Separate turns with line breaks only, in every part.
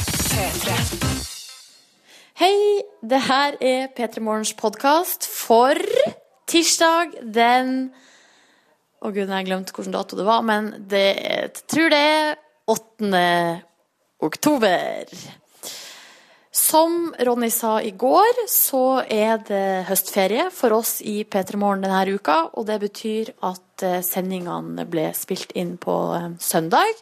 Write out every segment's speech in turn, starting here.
P3.
Hei, det her er P3 Morgens podkast for tirsdag den Å gud, jeg har glemt hvilken dato det var, men det, jeg tror det er 8. oktober. Som Ronny sa i går, så er det høstferie for oss i P3 Morgen denne uka. Og det betyr at eh, sendingene ble spilt inn på eh, søndag.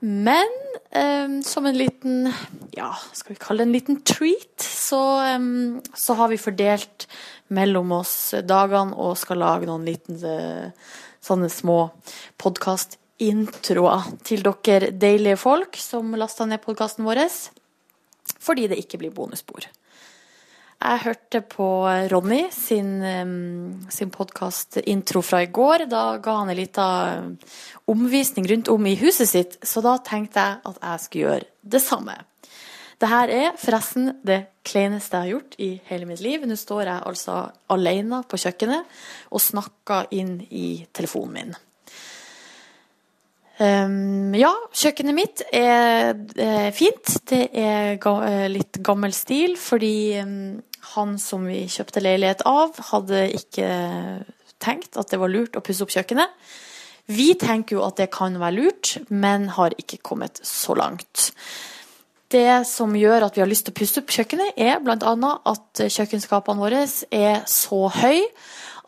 Men eh, som en liten, ja, skal vi kalle det en liten treat, så, eh, så har vi fordelt mellom oss dagene og skal lage noen liten eh, sånne små podkastintroer til dere deilige folk som lasta ned podkasten vår, fordi det ikke blir bonusspor. Jeg hørte på Ronny sin, um, sin podkastintro fra i går. Da ga han en liten omvisning rundt om i huset sitt, så da tenkte jeg at jeg skulle gjøre det samme. Det her er forresten det kleineste jeg har gjort i hele mitt liv. Nå står jeg altså alene på kjøkkenet og snakker inn i telefonen min. Ehm, ja, kjøkkenet mitt er, eh, fint. Det er ga eh, litt gammel stil, fordi ehm, han som vi kjøpte leilighet av, hadde ikke tenkt at det var lurt å pusse opp kjøkkenet. Vi tenker jo at det kan være lurt, men har ikke kommet så langt. Det som gjør at vi har lyst til å pusse opp kjøkkenet, er bl.a. at kjøkkenskapene våre er så høy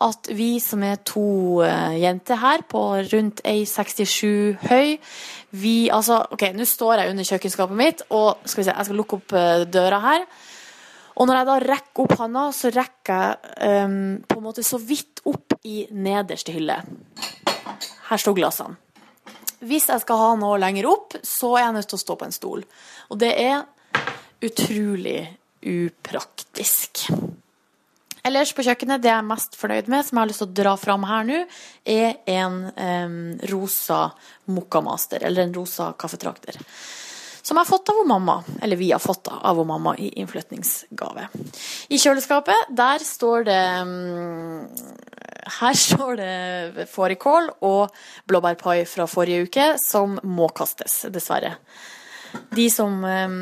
at vi som er to eh, jenter her på rundt 1,67 høy Vi altså OK, nå står jeg under kjøkkenskapet mitt, og skal vi se, jeg skal lukke opp eh, døra her. Og når jeg da rekker opp handa, så rekker jeg eh, på en måte så vidt opp i nederste hylle. Her står glassene. Hvis jeg skal ha noe lenger opp, så er jeg nødt til å stå på en stol. Og det er utrolig upraktisk. Ellers på kjøkkenet, det jeg er mest fornøyd med, som jeg har lyst til å dra fram her nå, er en em, rosa mokkamaster, eller en rosa kaffetrakter. Som jeg har fått av hun mamma, eller vi har fått av hun mamma i innflytningsgave. I kjøleskapet, der står det em, her står det fårikål og blåbærpai fra forrige uke, som må kastes, dessverre. De som eh,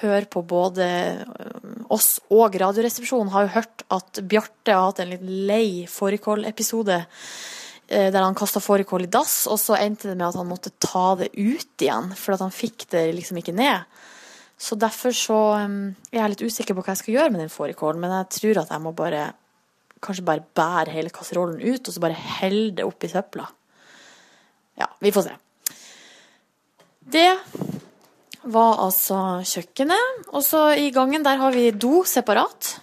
hører på både eh, oss og Radioresepsjonen, har jo hørt at Bjarte har hatt en litt lei fårikålepisode. eh, Der han kasta fårikål i dass, og så endte det med at han måtte ta det ut igjen. For at han fikk det liksom ikke ned. Så derfor så eh, er jeg litt usikker på hva jeg skal gjøre med den fårikålen. Men jeg tror at jeg må bare kanskje bare bære hele kasserollen ut, og så bare helle det oppi søpla. Ja, vi får se. Det var altså kjøkkenet. Og så i gangen der har vi do separat.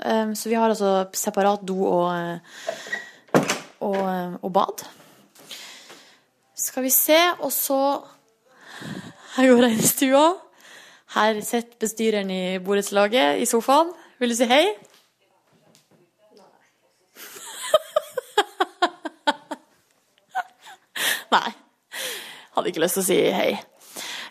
Um, så vi har altså separat do og, eh, og, eh, og bad. Skal vi se, og så Her går jeg inn i stua. Her sitter bestyreren i borettslaget i sofaen. Vil du si hei? Nei. Hadde ikke lyst til å si hei.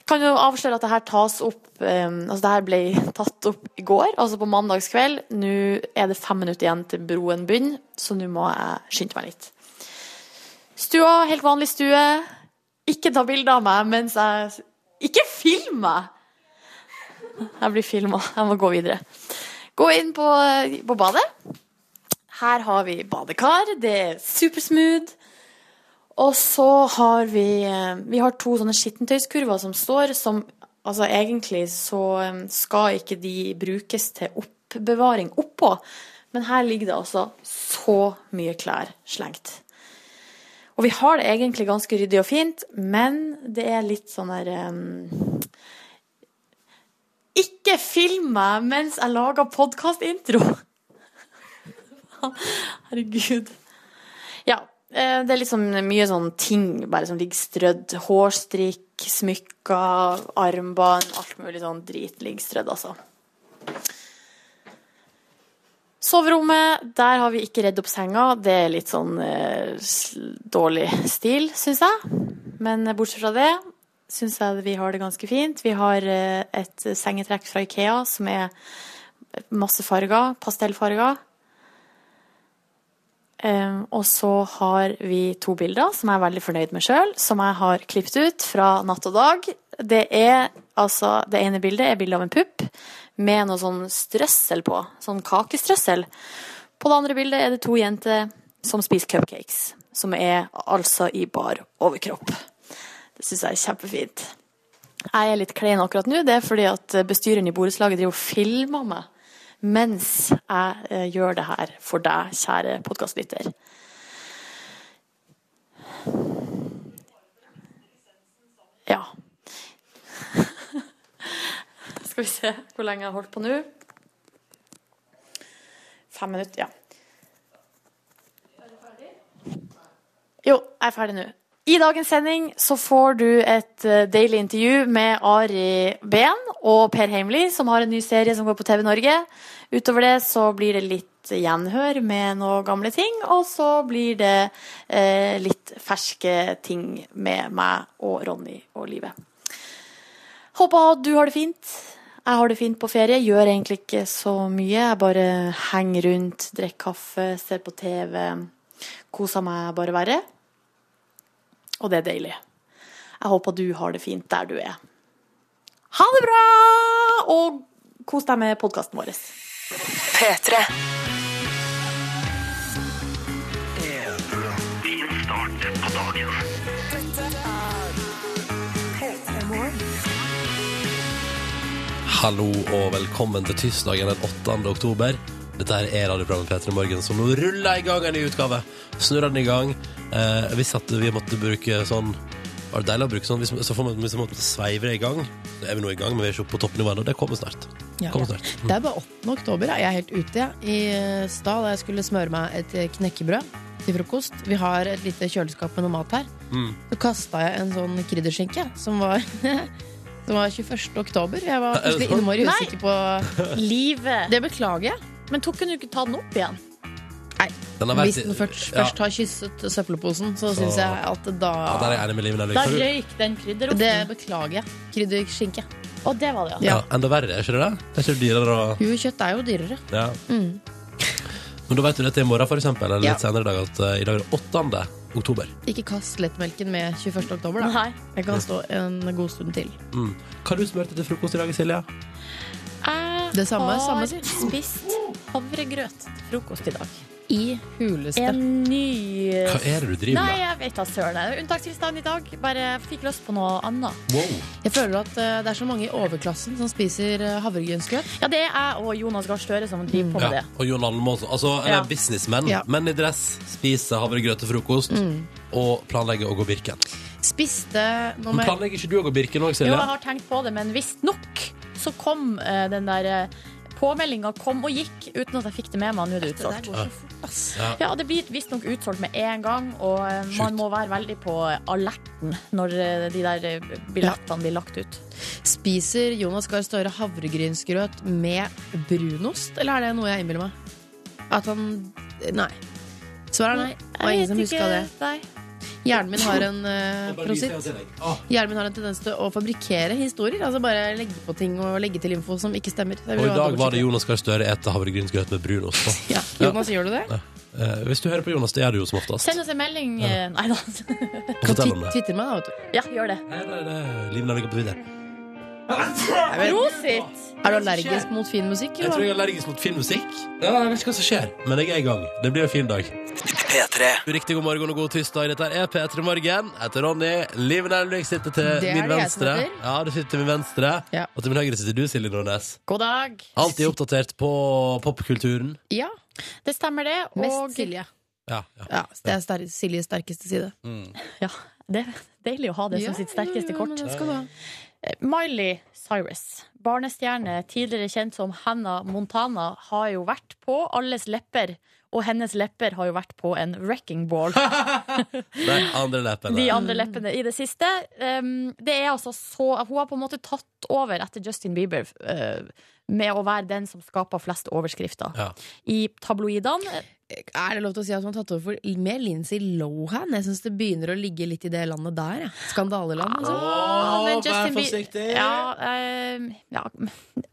Kan jo avsløre at det her tas opp eh, Altså det her ble tatt opp i går, altså på mandagskveld. Nå er det fem minutter igjen til broen begynner, så nå må jeg skynde meg litt. Stua, helt vanlig stue. Ikke ta bilde av meg mens jeg Ikke film meg! Jeg blir filma. Jeg må gå videre. Gå inn på, på badet. Her har vi badekar. Det er supersmooth. Og så har vi Vi har to sånne skittentøyskurver som står, som altså egentlig så um, skal ikke de brukes til oppbevaring oppå. Men her ligger det altså så mye klær slengt. Og vi har det egentlig ganske ryddig og fint, men det er litt sånn der um, Ikke film meg mens jeg lager podkastintro! Herregud. Ja. eh, Det er liksom mye sånn ting bare som ligger strødd. Hårstrikk, smykker, armbånd. Alt mulig sånn drit ligger strødd, altså. Soverommet, der har vi ikke redd opp senga. Det er litt sånn eh, sl- dårlig stil, syns jeg. Men eh, bortsett fra det syns jeg vi har det ganske fint. Vi har eh, et sengetrekk fra Ikea som er masse farger, pastellfarger. Um, og så har vi to bilder som jeg er veldig fornøyd med sjøl, som jeg har klippet ut fra natt og dag. Det er Altså, det ene bildet er bilde av en pupp med noe sånn strøssel på. Sånn kakestrøssel. På det andre bildet er det to jenter som spiser cupcakes. Som er altså i bar overkropp. Det syns jeg er kjempefint. Jeg er litt klein akkurat nå. Det er fordi at bestyreren i borettslaget driver og filmer meg mens jeg eh, gjør det her for deg, kjære podkastlytter. Ja. Skal vi se hvor lenge jeg har holdt på nå. Fem minutter, ja. Jo, jeg er ferdig nå. I dagens sending så får du et eh, deilig intervju med Ari Behn og Per Heimly, som har en ny serie som går på TV Norge. Utover det så blir det litt gjenhør med noen gamle ting, og så blir det eh, litt ferske ting med meg og Ronny og livet. Håper at du har det fint. Jeg har det fint på ferie. Gjør egentlig ikke så mye. Jeg bare henger rundt, drikker kaffe, ser på TV. Koser meg bare verre. Og det er deilig. Jeg håper du har det fint der du er. Ha det bra! Og kos deg med podkasten vår.
P3.
Hallo og velkommen til tirsdagen den 8. oktober. Dette her er radioprogrammet Petter i morgen, som nå ruller i gang en ny utgave. Snurrer den i gang. Eh, hvis at vi måtte bruke sånn Var det deilig å bruke sånn? Hvis, så får man, hvis man måtte sveive det i gang. Så er vi nå i gang, men vi er ikke oppe på toppnivå ennå. Det kommer snart.
Ja.
Kommer snart.
Det er bare 8. oktober. Jeg er helt ute. jeg. I eh, stad da jeg skulle smøre meg et eh, knekkebrød til frokost Vi har et lite kjøleskap med noe mat her.
Mm.
Så kasta jeg en sånn krydderskinke som var Som var 21. oktober. Jeg var
Er det
plutselig
sant?
innmari
Nei.
usikker på
Livet.
Det beklager jeg.
Men tok hun jo ikke ta den opp igjen?
Den
Hvis den først,
ja,
først har kysset søppelposen, så,
Så-
synes syns jeg at da
ja, der er jeg enig med Liven Elvik.
Da
Får du-
røyk den krydderroten.
Det beklager jeg. Krydderskinke.
Og det var det, ja.
Ja, enda verre, er ikke det det? Det er ikke dyrere å
Jo, kjøtt er jo dyrere.
ja.
Mm.
Men da vet du det til i morgen, for eksempel, eller
Ja.
litt senere i dag, at eh, i dag er det 8. oktober.
Ikke kast lettmelken med 21. oktober, da.
Nei.
Jeg kan stå en god stund til.
Mm. Hva har du smurt til frokost i dag, Silje?
Jeg
Det samme,
har
samme-
spist havregrøt til frokost i dag.
I huleste.
En ny
Hva er det du driver
Nei,
med?
jeg vet da søren. Det er Unntakstilstand i dag. Bare jeg fikk lyst på noe annet.
Wow.
Jeg føler at eh, det er så mange i overklassen som spiser eh, havregrynsgrøt.
Ja, det er jeg og Jonas Gahr Støre som driver på med
Ja,
det.
og Jon Almaas. Altså, eller
Ja. Mm.
businessmenn.
Ja.
Menn i dress, spiser havregrøt til frokost og planlegger å gå Birken.
Spiste nå
Men
må jeg-
planlegger ikke du å gå Birken òg,
Jo,
Silje?
jeg har tenkt på det, men visstnok så kom eh, den der uh, påmeldinga kom og gikk uten at jeg fikk det med meg. Nå er det
Det der
utsolgt.
går så fort, ass.
Ja, det blir visstnok utsolgt med en gang, og eh,
Sjukt.
man må være veldig på alerten når eh, de der eh, billettene blir lagt ut.
Spiser Jonas Gahr Støre havregrynsgrøt med brunost, eller er det noe jeg innbiller meg? At han Nei. Svaret er nei. Det var ingen som huska det.
Nei.
Hjernen min har en eh, prosit.
Ah.
Hjernen min har en tendens til å fabrikkere historier. Altså bare legge på ting og legge til info som ikke stemmer.
Og i dag var det Jonas Gahr Støre etter havregrynsgrøt med brunost på.
Ja. Jonas, gjør du det?
Eh, hvis du hører på Jonas, det gjør du jo som oftest.
Send oss en melding eh, Nei da.
Og
Kan
fortell om
twi-
det.
Twitter meg, da, vet du.
Ja, gjør det.
Her er det Liv Nelvik på Twitter.
Prosit!
Er du allergisk mot fin musikk?
Jeg
eller
tror
hva?
jeg er allergisk mot finmusikk. Ja, jeg vet ikke hva som skjer, men jeg er i gang. Det blir en fin dag.
P3.
Riktig god morgen og god tirsdag. Dette er P3 Morgen. Jeg heter Ronny. Liv Nelvik sitter til
Det er
min
det jeg som
venstre.
heter.
Ja, du sitter til min venstre.
Ja.
Og til min høyre sitter du, Silje Nordnes.
God dag.
Alltid oppdatert på popkulturen.
Ja.
Det stemmer, det.
Mest
Og
Silje.
Ja, ja. Mm.
Ja, det er ster Siljes sterkeste side.
ja, det er deilig å ha det som sitt sterkeste kort. Eh, Miley Cyrus, barnestjerne tidligere kjent som Hannah Montana, har jo vært på alles lepper. Og hennes lepper har jo vært på en wrecking ball.
De andre leppene.
De andre leppene i det siste. Um, det er altså så Hun har på en måte tatt over etter Justin Bieber eh, uh, med å være den som skaper flest overskrifter
Ja.
i tabloidene. eh,
Er det lov til å si at man har tatt over for mer Lindsay Lohan? Jeg syns det begynner å ligge litt i det landet der. Ja. Skandaleland, altså.
Ah, men
vær
Justin Bie-
forsiktig!
Ja, eh, ja,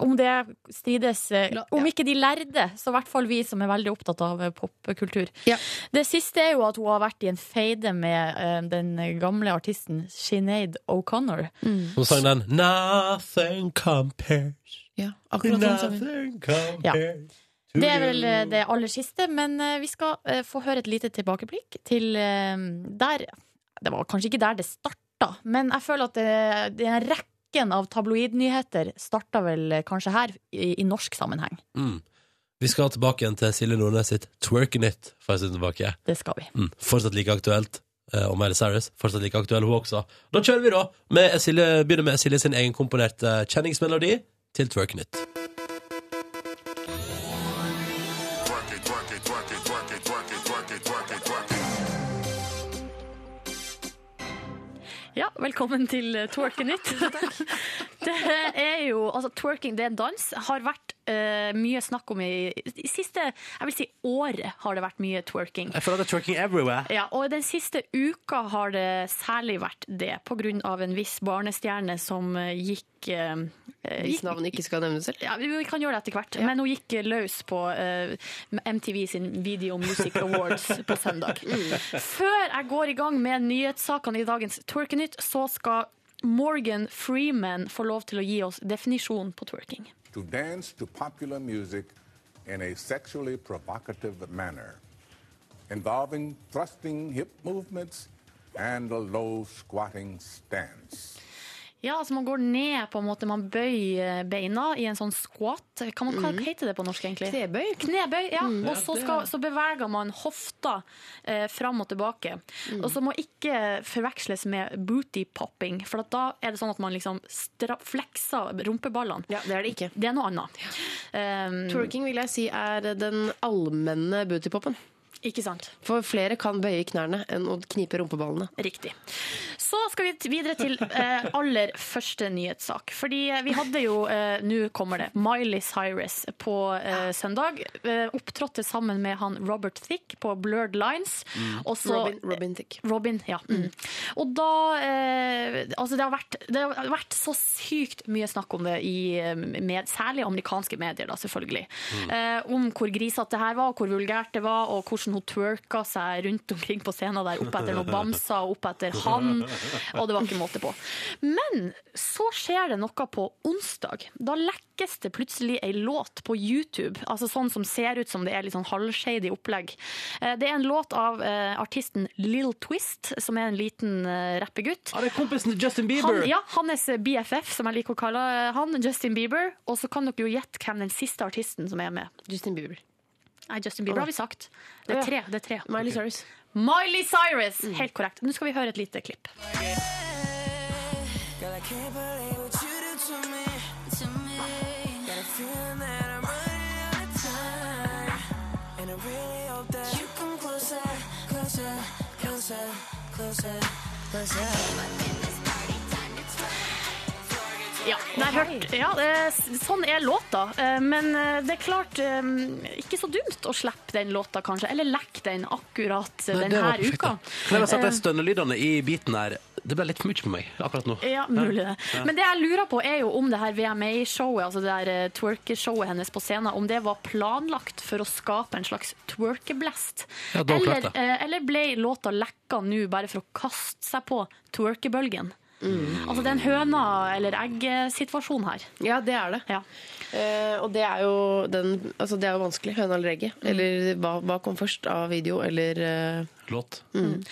om det strides eh,
La-
Om
ja.
ikke de lærde, så i hvert fall vi som er veldig opptatt av eh, popkultur.
Ja.
Det siste er jo at hun har vært i en feide med eh, den gamle artisten Sinead O'Connor.
Mm.
Hun sang den Nothing compares
Ja, akkurat sånn som hun.
Nothing compares to
Det er vel eh,
you.
det aller siste, men eh, vi skal eh, få høre et lite tilbakeblikk til eh, der Det var kanskje ikke der det starta, men jeg føler at det, det er en rekken av tabloidnyheter starta vel eh, kanskje her, i, i norsk sammenheng.
Mm. Vi skal tilbake igjen til Silje Nordnes sitt Twerking It. Får jeg si tilbake.
Det skal vi.
Mm. Fortsatt like aktuelt. eh, Og Miley Cyrus fortsatt like aktuell, hun også. Da kjører vi, da. Med Silje, begynner med Silje sin egenkomponerte kjenningsmelodi til Twerking It.
Ja, velkommen til eh, Twerking It. Det er jo, altså Twerking det er en dans. Har vært eh, mye snakk om i, i siste Jeg vil si året har det vært mye twerking.
Jeg føler at det er twerking everywhere.
Ja, og den siste uka har det særlig vært det, på grunn av en viss barnestjerne som eh, gikk eh, eh,
Hvis
gikk-
navnet ikke skal nevnes selv.
ja, Vi vi kan gjøre det etter hvert, men hun gikk eh, løs på eh, MTV sin Video Music Awards på søndag.
Mm.
Før jeg går i gang med nyhetssakene i dagens Twerkenytt, så skal Morgan Freeman få lov til å gi oss definisjonen på twerking.
to dance to popular music in a sexually provocative manner, involving thrusting hip movements and a low squatting stance.
Ja, altså Man går ned, på en måte, man bøyer beina i en sånn squat. Kan man, Hva
Mhm.
heter det på norsk, egentlig?
Knebøy.
Knebøy, ja.
Mm.
Og så, skal, så beveger man hofta eh, fram og tilbake.
Mm.
Og så må ikke forveksles med booty popping, for at da er det sånn at man liksom stra flekser rumpeballene.
Ja, det er det ikke.
Det er noe annet. Um,
Mm. Twerking vil jeg si er den allmenne bootypopen.
ikke sant?
For flere kan bøye knærne enn å knipe rumpeballene.
Riktig. Så skal vi t- videre til eh, aller første nyhetssak. Fordi eh, vi hadde jo, eh, nå kommer det, Miley Cyrus på eh, søndag. Eh, opptrådte sammen med han Robert Thicke på Blurred Lines.
Mm.
Mm.
Og så eh,
Robin, Robin Thicke.
Robin, ja. Mm. Og da eh, Altså, det har, vært, det har vært så sykt mye snakk om det i eh, med, særlig amerikanske medier, da, selvfølgelig. Eh, om hvor grisete det her var, og hvor vulgært det var, og hvordan hun twerka seg rundt omkring på scenen der, opp etter noen bamser, og opp etter han, og det var ikke måte på. Men så skjer det noe på onsdag. Da lekkes det plutselig ei låt på YouTube, altså sånn som ser ut som det er litt sånn halvshady opplegg. Eh, Det er en låt av eh, artisten Lil Twist, som er en liten eh, rappegutt.
det er kompisen til Justin Bieber!
Han, ja, hans BFF, som jeg liker å kalle eh, han, Justin Bieber. Og så kan dere jo gjette hvem den siste artisten som er med.
Justin Bieber.
Nei, Justin Bieber har vi sagt. Det
Å, ja.
er tre. det er tre.
Miley Cyrus. Mm.
Miley Cyrus! Helt korrekt. Nå skal vi høre et lite klipp.
Girl, I can't believe what you do to me. To me. Got a feeling that I'm running out of time. And I really hope that you come closer, closer, closer, closer, closer.
Ja, der hørt. ja eh, s- sånn er låta. Eh, Men eh, det er klart eh, ikke så dumt å slippe den låta, kanskje. Eller lekke den akkurat eh,
Nei, det
denne
var perfekt,
uka. Eh,
da. Kan jeg bare si at de stønnelydene i biten her Det ble litt for mye for meg akkurat nå.
Ja, mulig det. Men det jeg lurer på er jo om det her VMA-showet, altså det her eh, twerkeshowet hennes på scenen, om det var planlagt for å skape en slags twerkeblest.
Ja, det var klart
eller,
det.
eh, eller ble låta lekka nå bare for å kaste seg på twerkebølgen? Altså det er en høna- eller egg-situasjon her.
Ja, det er det.
Ja.
Eh, og det er jo, den, altså det er jo vanskelig. Høna eller egget.
Mm.
Eller hva, hva kom først av video eller eh,
Låt.
Mm.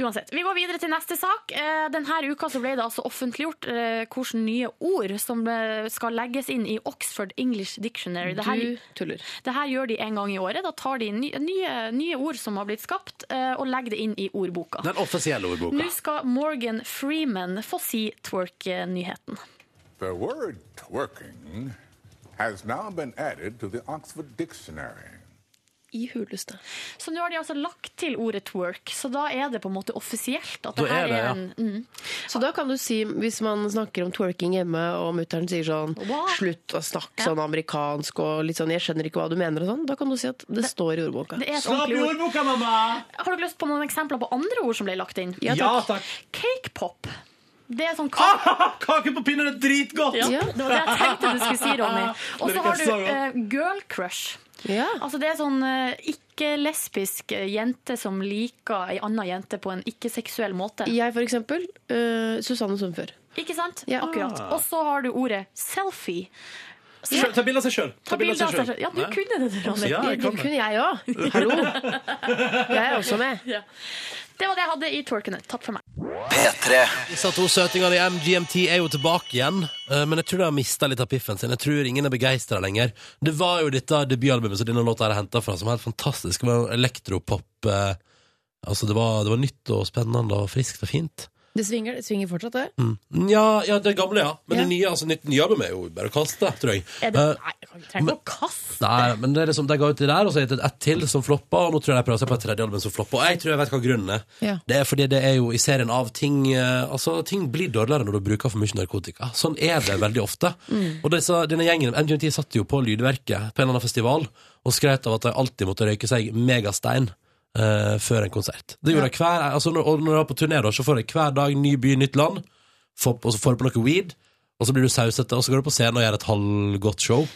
Uansett, Vi går videre til neste sak. Eh, Denne uka så ble det altså offentliggjort eh, hvilke nye ord som eh, skal legges inn i Oxford English Dictionary. Det her,
Du tuller.
det her gjør de en gang i året. Da tar de ny- nye, nye ord som har blitt skapt, eh, og legger det inn i ordboka.
Den offisielle ordboka.
Nå skal Morgan Freeman få si twerk-nyheten.
The word twerking has now been added to the Oxford Dictionary.
i hulleste.
Så nå har de altså lagt til ordet twerk, så da er det på en måte offisielt at
Da
det
er
her er,
det, ja.
en mm.
Så da kan du si, hvis man snakker om twerking hjemme, og mutter'n sier sånn
Hva?
'slutt å snakke sånn amerikansk' og litt sånn 'jeg skjønner ikke hva du mener' og sånn, da kan du si at det, står i ordboka.
Det er et ordentlig ord. Har du lyst på noen eksempler på andre ord som ble lagt inn?
Ja,
Ja takk!
Cake pop. Det er
Ah!
sånn kake
Kake på pinnen er dritgodt!
Ja, det var det jeg tenkte du skulle si, Ronny.
Det
Og så
liker jeg
har du
så godt.
eh, girl crush.
Ja.
Altså Det er sånn eh, ikke-lesbisk eh, jente som liker ei anna jente på en ikke-seksuell måte.
Jeg, for eksempel. eh, Susanne Sundfør.
Ikke sant?
Ja.
Akkurat.
Ah.
Og så har du ordet selfie.
Sjøl- Ta bilde av seg sjøl.
Ta bilde av seg selv. Ja, du kunne det, Ronny.
Ja, jeg
Det
kan det.
kunne jeg òg! Hallo! Jeg er også med.
Det var det jeg hadde i twerkene. Takk for meg.
P3.
Disse to søtingene i MGMT er jo tilbake igjen, eh, men jeg tror de har mista litt av piffen sin. Jeg tror ingen er begeistra lenger. Det var jo dette debutalbumet som denne låta er henta fra, som var helt fantastisk. Det var elektropop. eh, Altså, det var, det var nytt og spennende og friskt og fint.
Det svinger, det svinger fortsatt, det.
Mm. Ja, ja det gamle, ja. Men
Ja.
det nye altså, nytt, nye albumet er jo bare å kaste, tror jeg.
Er det,
Eh,
nei, jeg trenger ikke å kaste.
Nei, men det er liksom, de ga ut det der, og så er det ett til som floppa, og nå tror jeg de prøver seg på et tredje album som floppa. Og jeg tror jeg vet hva grunnen er.
Ja.
Det er fordi det er jo i serien av ting eh, Altså, ting blir dårligere når du bruker for mye narkotika. Sånn er det veldig ofte.
Mm.
Og disse, denne gjengen, MGMT, satt jo på Lydverket på en eller annen festival og skrøt av at de alltid måtte røyke seg megastein. eh, før en konsert. Det gjorde jeg hver, altså når, og når jeg var på turné, da, så får jeg hver dag ny by, nytt land, får, og så får du på noe weed, og så blir du sausete, og så går du på scenen og gjør et halvgodt show.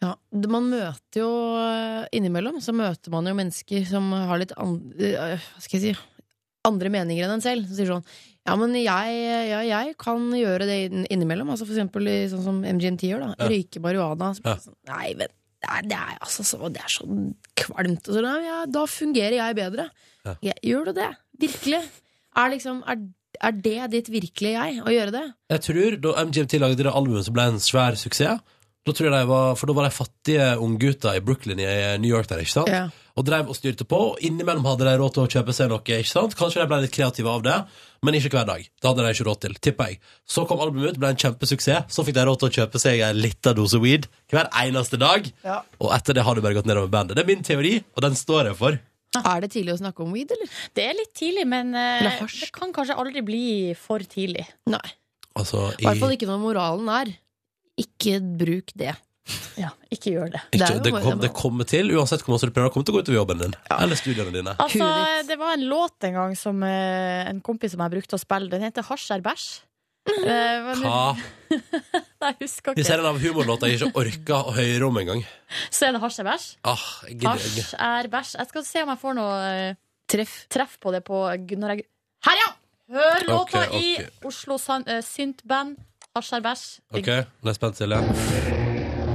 Ja, det- man møter jo eh, innimellom så møter man jo mennesker som har litt andre, hva skal jeg si, andre meninger enn en selv. Som sier sånn Ja, men jeg, ja, jeg kan gjøre det inn- innimellom. Altså for eksempel i, sånn som MGMT gjør. da Røyke marihuana. Så blir det sånn, nei, vent. Det er, det, er, altså, så, det er så kvalmt. Og så, nei, ja, da fungerer jeg bedre. Ja, gjør du det? Virkelig? Er, liksom, er, er det ditt virkelige jeg å gjøre det?
Jeg tror da MGMT lagde det albumet som ble en svær suksess da tror jeg de var, For da var de fattige unggutter i Brooklyn i eh, New York der, ikke sant?
Ja.
Og drev og styrte på. og Innimellom hadde de råd til å kjøpe seg noe. ikke sant? Kanskje de ble litt kreative av det, men ikke hver dag. Det hadde de ikke råd til, tipper jeg. Så kom albumet ut, ble en kjempesuksess. Så fikk de råd til å kjøpe seg en liten dose weed hver eneste dag. Og etter det har det bare gått nedover bandet. Det er min teori, og den står jeg for.
Er det tidlig å snakke om weed, eller?
Ah. Det er litt tidlig, men
Eller
eh,
hasj.
det kan kanskje aldri bli for tidlig.
Nei.
Altså,
I hvert fall ikke når moralen er ikke bruk det.
Ja, ikke gjør det.
Det er
ikke,
jo
det,
bare-
kom, det kommer til, uansett hvor mye du prøver, det kommer til å gå utover jobben din. Eller studiene dine.
Altså,
Huet ditt.
det var en låt en gang som eh, en kompis som jeg brukte å spille. Den heter Hasj er bæsj. Eh, men-
Hva?
Nei, jeg husker
Vi ser
ikke.
en av humorlåta jeg ikke orker å høre om engang.
Så er det hasj er bæsj.
Ah, jeg gidder
Hasj
ikke.
er bæsj. Jeg skal se om jeg får noe eh,
Treff.
treff på det på når jeg Her, ja! Hør låta
Ok, ok.
i Oslo San- eh, Synt-band. Hasj er bæsj.
Ok, nå er jeg spent, Silje.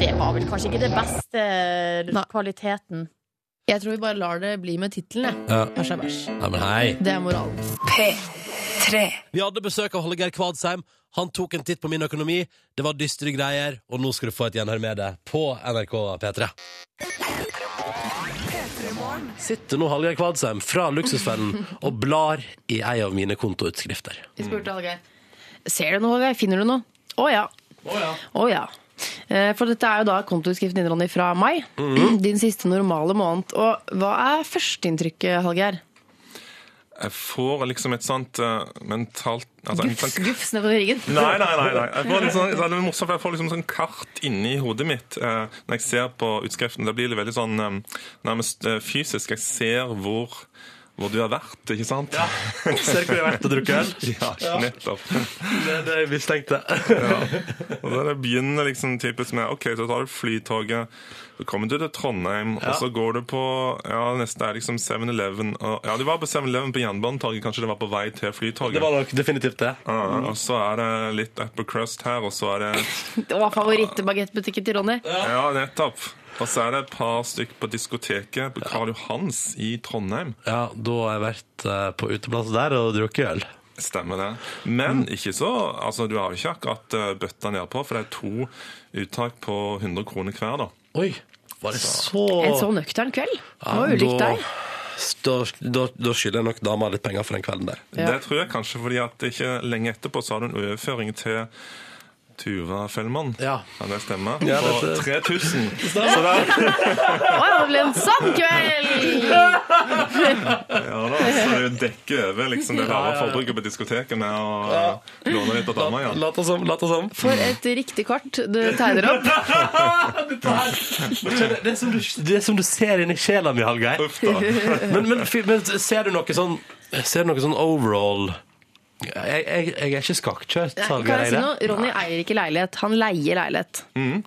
Det var vel kanskje ikke det beste eh,
Nei.
kvaliteten.
Jeg tror vi bare lar det bli med tittelen, jeg.
Ja.
Æsj er bæsj.
Nei, men hei.
Det er moralen.
P3.
Vi hadde besøk av Hallgeir Kvadsheim. Han tok en titt på min økonomi. Det var dystre greier, og nå skal du få et gjenhør med det på NRK P3. Sitter nå Hallgeir Kvadsheim fra Luksusfellen og blar i ei av mine kontoutskrifter.
Vi spurte
Mm.
Hallgeir. Ser du noe, Hallgeir? Finner du noe? Å ja. Å ja. Eh, For dette er jo da kontoutskriften din, Ronny, fra mai.
Mm.
Din siste normale måned. Og hva er førsteinntrykket, Hallgeir?
Jeg får liksom et sånt eh, mentalt altså, en
Gufs,
sånn-
gufs nedover ryggen.
Nei, nei, nei. nei. Jeg får en sånn, sånn- det er morsomt, for jeg får liksom sånn kart inni hodet mitt eh, når jeg ser på utskriften. Da blir det veldig sånn eh, nærmest eh, fysisk. Jeg ser hvor, hvor du har vært, ikke sant? Ja,
Ser hvor jeg har vært og drukket øl.
nettopp.
Det er det jeg mistenkte.
Og da det begynner liksom typisk med OK, så tar du flytoget, så kommer du til Trondheim, og så går du på ja, neste er liksom 7-Eleven. og- Ja, du var på 7-Eleven på jernbanetorget, kanskje det var på vei til flytoget.
Det var nok definitivt det.
Ja, og så er det litt upper crust her, og så er det
Det var favorittbagettbutikken til Ronny.
Ja, nettopp. Og så er det et par stykk på diskoteket på Karl Johans i Trondheim.
Ja, da har jeg vært eh, på uteplass der og drukket øl. Mm.
Stemmer det. Men ikke så Altså, du har jo ikke akkurat eh, bøtta nedpå, for det er to uttak på 100 kroner hver, da.
Oi, var det så
En så nøktern kveld. Det var
Ja,
ulikt
da-
deg.
Da, da, da skylder jeg nok dama litt penger for den kvelden der.
Det tror jeg kanskje fordi at ikke lenge etterpå så har du en overføring til Tuva Fellmann.
Ja.
Kan det stemme?
Ja,
på
dette-
3000. Så det,
Å ja, det ble en sann kveld!
ja da, så det dekker over liksom, det lave forbruket på diskoteket med å eh, låne litt av dama igjen.
Lat oss om, lat oss om.
For et riktig kart du tegner opp.
Det er, som du, det er som du ser inni sjela mi, Hallgeir.
Uff da.
Men, men, fy- men ser du noe sånn Ser du noe sånn overall Jeg, jeg, jeg er ikke skakkjørt,
Nei,
Hallgeir
Kan jeg si
Eide.
noe? Ronny eier ikke leilighet, han leier leilighet.
Mm.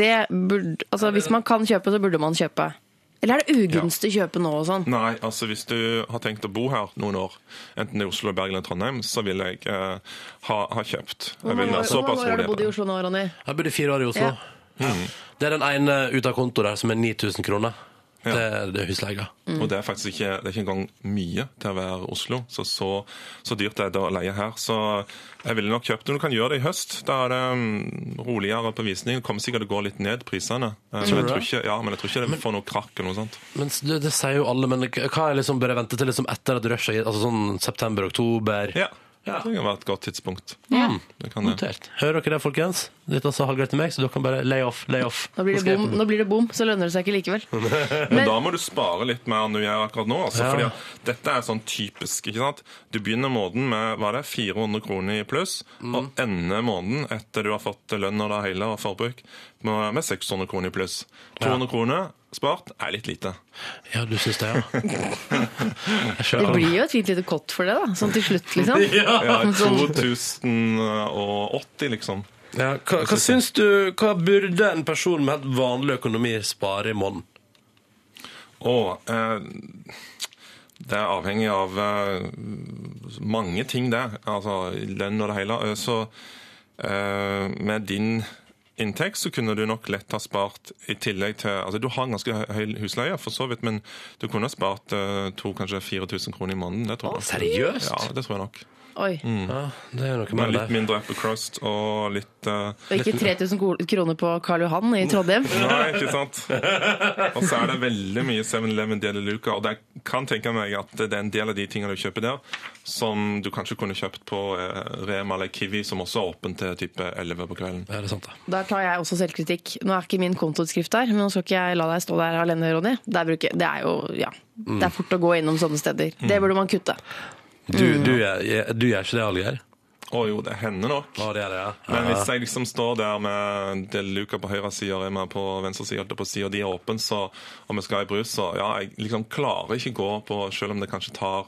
Det burde, altså Hvis man kan kjøpe, så burde man kjøpe. Eller er det ugunstig å kjøpe nå og sånn?
Nei, altså hvis du har tenkt å bo her noen år, enten i Oslo, Bergen eller Trondheim, så vil jeg eh, ha, ha kjøpt.
Hvor
Jeg vil
mange
ha
år hvor mange
såpass
år har du
rolig.
bodd i Oslo nå, Ronny?
Jeg bodde fire år i Oslo.
Mm.
Det er den ene ut av konto der som er 9000 kroner. Det, er- det er husleia.
Mm.
Og det er faktisk ikke, det er ikke engang mye til å være Oslo. Så, så, så dyrt er det å leie her. Så jeg ville nok kjøpt det. Men Du kan gjøre det i høst. Da er det mm, roligere på visning. Det kommer sikkert til å gå litt ned prisene. Eh, Men jeg
du
tror
det?
ikke, ja, men jeg tror ikke det får noe krakk eller noe sånt.
Men s- det, det sier jo alle, men k- hva er liksom, bør jeg vente til liksom etter at rushet er gitt? Altså sånn september-oktober?
Ja. Det kan være et godt tidspunkt. Mm, Det kan det.
Notert. Hører dere det, folkens? Dette sa Hallgeir til meg, så dere kan bare lay off, lay off.
Nå blir,
Nå skal
det
jeg-
bom, nå blir det bom, så lønner det seg ikke likevel.
Men da må du spare litt mer enn du gjør akkurat nå. Altså,
Ja.
fordi at dette er sånn typisk. ikke sant? Du begynner måneden med hva er det, 400 kroner i pluss,
Mm.
og ender måneden etter du har fått lønn og det hele og forbruk, med, med 600 kroner i pluss. 200 kroner spart er litt lite.
Ja, du syns det, ja. Jeg
Det
skjønner.
blir jo et fint lite kott for det, da. Sånn til slutt, liksom. Sånn-
Ja, 2080, liksom.
Ja, hva, hva syns du Hva burde en person med helt vanlig økonomi spare i måneden?
Og eh, det er avhengig av eh, mange ting, det. Altså lønn og det hele. Eh, Så eh, med din inntekt så kunne du nok lett ha spart i tillegg til Altså du har en ganske hø- høy husleie, for så vidt, men du kunne ha spart eh, to, kanskje 4000 kroner i måneden. Det tror jeg. nok.
Seriøst?
Ja, det tror jeg nok.
Oi.
Ja, det er noe
Men
med
Mm. litt
det.
mindre apple crust og litt eh,
Og ikke 3000 ko- kroner på Karl Johan i Trondheim.
Nei, ikke sant. Og så er det veldig mye 7-Eleven Deli Luca. Og jeg kan tenke meg at det er en del av de tingene du kjøper der, som du kanskje kunne kjøpt på eh, Rema eller Kiwi, som også er åpen til type 11 på kvelden.
Er det sant, da?
Der tar jeg også selvkritikk. Nå er ikke min kontoutskrift der, men nå skal ikke jeg la deg stå der alene, Ronny. Det er, bruke- det er jo, ja, det er fort å gå innom sånne steder. Det burde man kutte.
Du, du, er- du gjør ikke det, Hallgeir?
Å jo, det hender nok.
Å, det er det, ja.
Men
Ja.
hvis jeg liksom står der med Deli Luca på høyre side og Rema på venstre side, holdt jeg på å si, og de er åpne, så om jeg skal i brus, så ja, jeg liksom klarer ikke gå på, selv om det kanskje tar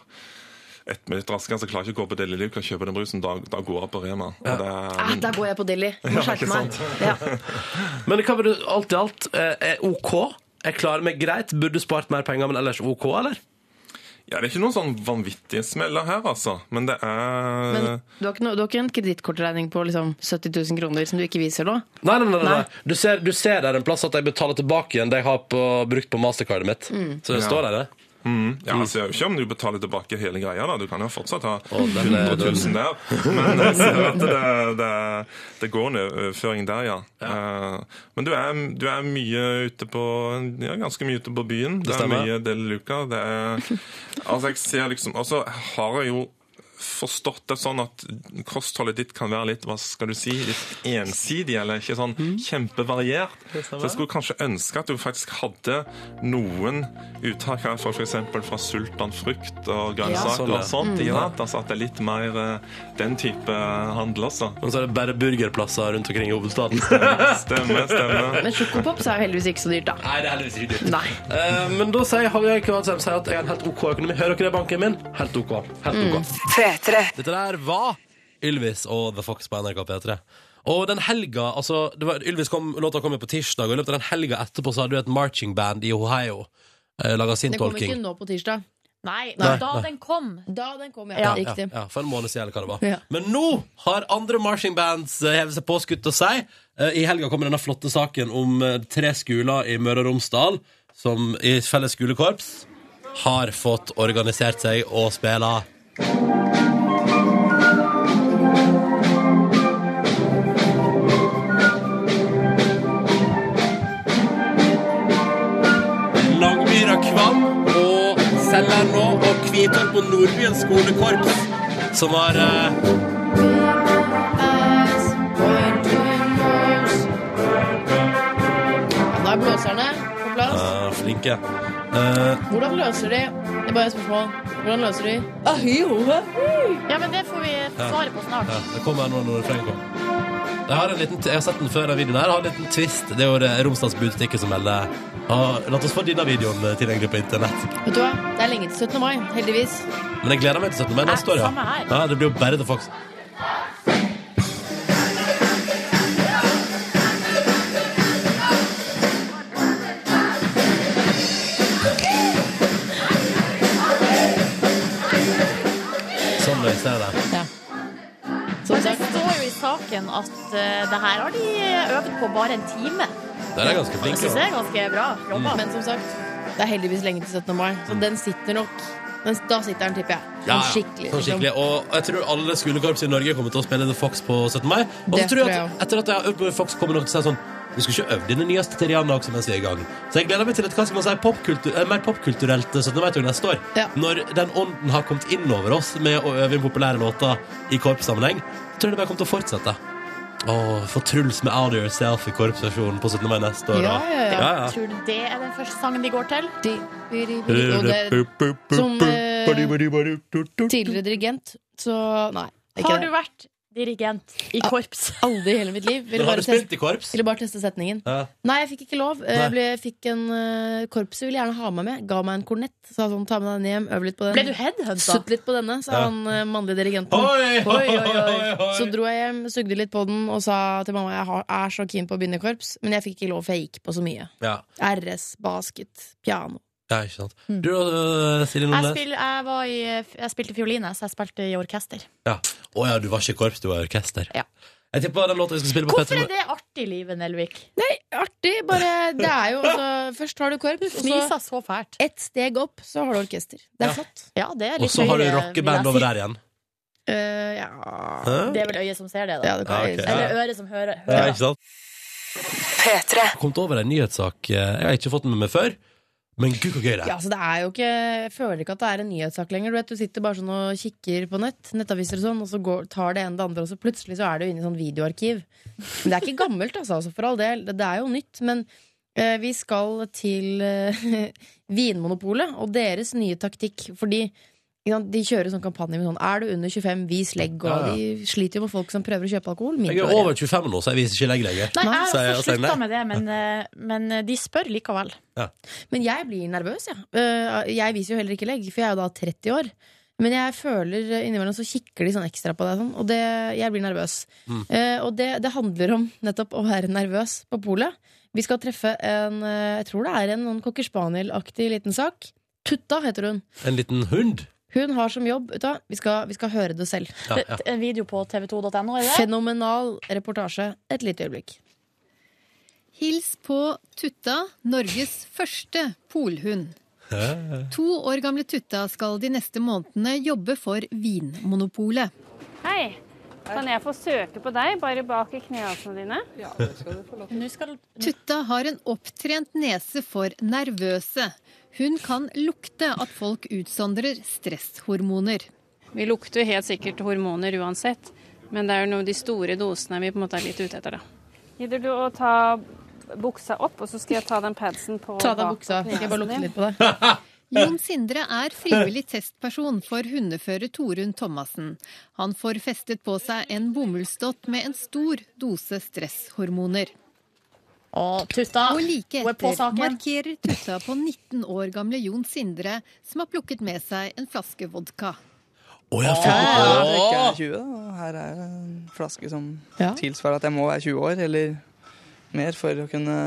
ett minutt raskere, så klarer jeg ikke å gå på Deli Luca og kjøpe den brusen. Da, da går jeg på Rema. Og det er
Ah, der går jeg på Deli. Må skjerpe meg. Ja.
Men hva burde alt i alt eh, er OK? Jeg klarer meg greit, burde spart mer penger, men ellers OK, eller?
Ja, Det er ikke noen sånn vanvittige smeller her, altså. Men det er
Men du har ikke, noe- du har ikke en kredittkortregning på liksom 70 000 kroner som du ikke viser nå?
Nei, nei, nei, nei.
Nei.
Du, ser, du ser der en plass at jeg betaler tilbake igjen det jeg har på, brukt på mastercardet mitt. Så det står der, det.
Ja, altså, Jeg vet ikke om du betaler tilbake hele greia, da. Du kan jo fortsatt ha
Å, den er-
100 000 der. Men eh, jeg ser at det, det, det går en overføring der, ja. Eh, Men du er, du er mye ute på Ja, ganske mye ute på byen. Det, er
stemmer.
mye Del Luca. Det er Altså, jeg ser liksom Og så har jeg jo forstått det sånn at kostholdet ditt kan være litt hva skal du si, litt ensidig, eller ikke sånn
Mm.
kjempevariert. Så jeg skulle kanskje ønske at du faktisk hadde noen uttak her for f.eks. fra sultan frukt og grønnsaker
sånn, ja.
og sånt. ikke sant? Altså at det er litt mer eh, den type eh, handel altså. også.
Men så er det bare burgerplasser rundt omkring i hovedstaden.
Stemmer, stemmer.
Men Sjokopops er jo heldigvis ikke så dyrt, da.
Nei, det er heldigvis ikke dyrt.
Nei.
Eh, men da sier Hallgeir Kvadsheim sier at jeg har en helt OK økonomi. Hører dere det, banken min? Helt OK. Helt OK.
Mm.
Dette der var Ylvis og The Fox på NRK P3. Og den helga, altså det var, Ylvis kom, låta kom jo på tirsdag, og i løpet av den helga etterpå så hadde jo et marching band i Ohio eh, laga sin
Den kom ikke
tolking.
nå på tirsdag.
Nei,
Nei,
da
nei.
den kom.
Da den kom,
Ja,
ja.
ja,
Riktig.
ja, for en måned siden, eller hva det var.
Ja.
Men nå har andre marching bands eh, hevet seg på skutt og seg. Eh, I helga kommer denne flotte saken om eh, tre skoler i Møre og Romsdal som i felles skolekorps har fått organisert seg og spiller Langmyra Kvam og Sellerno og Kvitorp og Nordbyen skolekorps som har eh,
As one Da er blåserne på plass.
Ja, flinke. Eh,
Hvordan løser de Det er bare et spørsmål. Hvordan løser de
Ah, Ja, men det får vi svaret på snart.
ja, det kommer nå når refrenget kommer. Jeg har, en liten, jeg har sett den før, den videoen her. Jeg har en liten twist. Det er jo det Romsdals Budstikke som melder ah, La oss få denne videoen eh, tilgjengelig på internett.
Vet du hva? Det er lenge til 17. mai, heldigvis.
Men jeg gleder meg til 17. mai neste år, ja.
samme her.
ja. Det blir jo bare The Fox. Sånn løser jeg det.
Ja. Som
Men det
sagt,
står jo i saken at eh, det her har de øvd på bare en time.
Der er ganske
Jeg
flink.
syns det er ganske bra jobba.
men som sagt, det er heldigvis lenge til 17. mai, så den sitter nok. Den, da sitter den, tipper jeg. Sånn
Ja, ja.
skikkelig.
Sånn skikkelig. Og jeg tror alle skolekorps i Norge kommer til å spille The Fox på 17. mai. Og så
Det
tror jeg
tror jeg
at etter at jeg har øvd på The Fox, kommer noen til å si sånn vi skulle ikke øvd inn den nyeste til Rihanna også mens vi er i gang. Så jeg gleder meg til et hva skal man si, popkultur, eh, mer popkulturelt 17. mai-tog neste år.
Ja.
Når den ånden har kommet inn over oss med å øve inn populære låter i korpssammenheng, tror jeg det bare kommer til å fortsette. Åh, få Truls med Out of Yourself i korpsversjonen på 17. mai neste år. da.
Ja, ja, ja.
ja.
Tror du det er den første sangen de går til?
Og det, som eh, tidligere dirigent, så nei. det er ikke
Har
det.
du vært dirigent i
Ja.
korps?
Aldri i hele mitt liv. Ville
Men har
bare,
du
teste,
spilt i korps?
ville bare teste setningen.
Ja.
Nei, jeg fikk ikke lov.
Nei.
Jeg ble, fikk en uh, korpset ville gjerne ha meg med. Ga meg en kornett. Sa sånn, ta med deg den hjem, øv litt på
Ble du
den.
headhunta?
Sutt litt på denne, sa
Ja.
han eh, mannlige dirigenten.
Oi, oi,
Oi, oi, oi.
oi, oi.
Så dro jeg hjem, sugde litt på den og sa til mamma jeg har, er så keen på å begynne i korps. Men jeg fikk ikke lov, for jeg gikk på så mye.
Ja.
RS, basket, piano.
Ja, ikke sant. Du da, øh, Silje
Mm. Jeg,
Nordnes?
spil, jeg, var i, jeg spilte fioline, så jeg spilte i orkester.
Ja. Å ja, du var ikke i korps, du var i orkester.
Ja.
Jeg tipper den låta vi skal spille på
Hvorfor
Petter
er det artig i livet, Nelvik?
Artig, bare Det er jo altså Først har du korps, og så
Fnisa så fælt.
ett steg opp, så har du orkester. Det
Ja.
er flott.
Ja, det er
Og
litt
så har du
høyere, vil
rockeband
jeg
over
si.
der igjen.
Eh, ja
Hæ?
Det er vel øyet som ser det, da.
Ja, det kan
Ja,
jeg
ok.
si.
Eller øret som hører.
Ja,
hører.
ikke sant? Jeg har kommet over en nyhetssak eh, jeg har ikke fått med meg før. Men gud, så gøy det er.
Ja, altså det er jo ikke Jeg føler ikke at det er en nyhetssak lenger. Du vet, du sitter bare sånn og kikker på nett, nettaviser og sånn, og så går, tar det ene det andre, og så plutselig så er du inne i sånn videoarkiv. Men det er ikke gammelt, altså, altså for all del. Det, det er jo nytt. Men eh, vi skal til eh, Vinmonopolet og deres nye taktikk, fordi ikke sant, de kjører sånn kampanje med sånn Er du under 25, vis legg. Og
Ja, ja.
de sliter jo med folk som prøver å kjøpe alkohol.
Jeg er
klarer
over 25 nå, så jeg viser ikke legg lenger.
Nei,
Så jeg-
jeg har
og
også
så er jeg
slutta
nei.
med det, men, eh, men eh, de spør likevel.
Men jeg blir nervøs, jeg. Eh, Jeg viser jo heller ikke legg, for jeg er jo da 30 år. Men jeg føler eh, innimellom så kikker de sånn ekstra på deg, sånn, og det, jeg blir nervøs.
Mm.
Eh, og det, det handler om nettopp å være nervøs på polet. Vi skal treffe en eh, Jeg tror det er en noen cocker spaniel-aktig liten sak. Tutta heter hun.
En liten hund.
Hun har som jobb vet du hva, vi skal, vi skal høre det selv.
Ja, ja.
En video på tv2.no, er det?
Fenomenal reportasje. Et lite øyeblikk.
Hils på Tutta, Norges første polhund. To år gamle Tutta skal de neste månedene jobbe for Vinmonopolet.
Hei. Kan jeg få søke på deg, bare bak i knehasene dine?
Nå skal
Tutta har en opptrent nese for nervøse. Hun kan lukte at folk utsondrer stresshormoner.
Vi lukter jo helt sikkert hormoner uansett, men det er jo noe de store dosene vi på en måte er litt ute etter, da. Gidder du å ta buksa opp, og så skal jeg ta den padsen på
Ta av deg buksa. Skal jeg bare lukte litt på deg?
Jon Sindre er frivillig testperson for hundefører Torunn Thomassen. Han får festet på seg en bomullsdott med en stor dose stresshormoner.
Å, Tutta!
Og like
Hun er på
etter
saken.
markerer Tutta på 19 år gamle Jon Sindre, som har plukket med seg en flaske vodka.
Å, jeg fikk
Jeg er 20, og her er det en flaske som
Ja.
tilsvarer at jeg må være 20 år eller mer for å kunne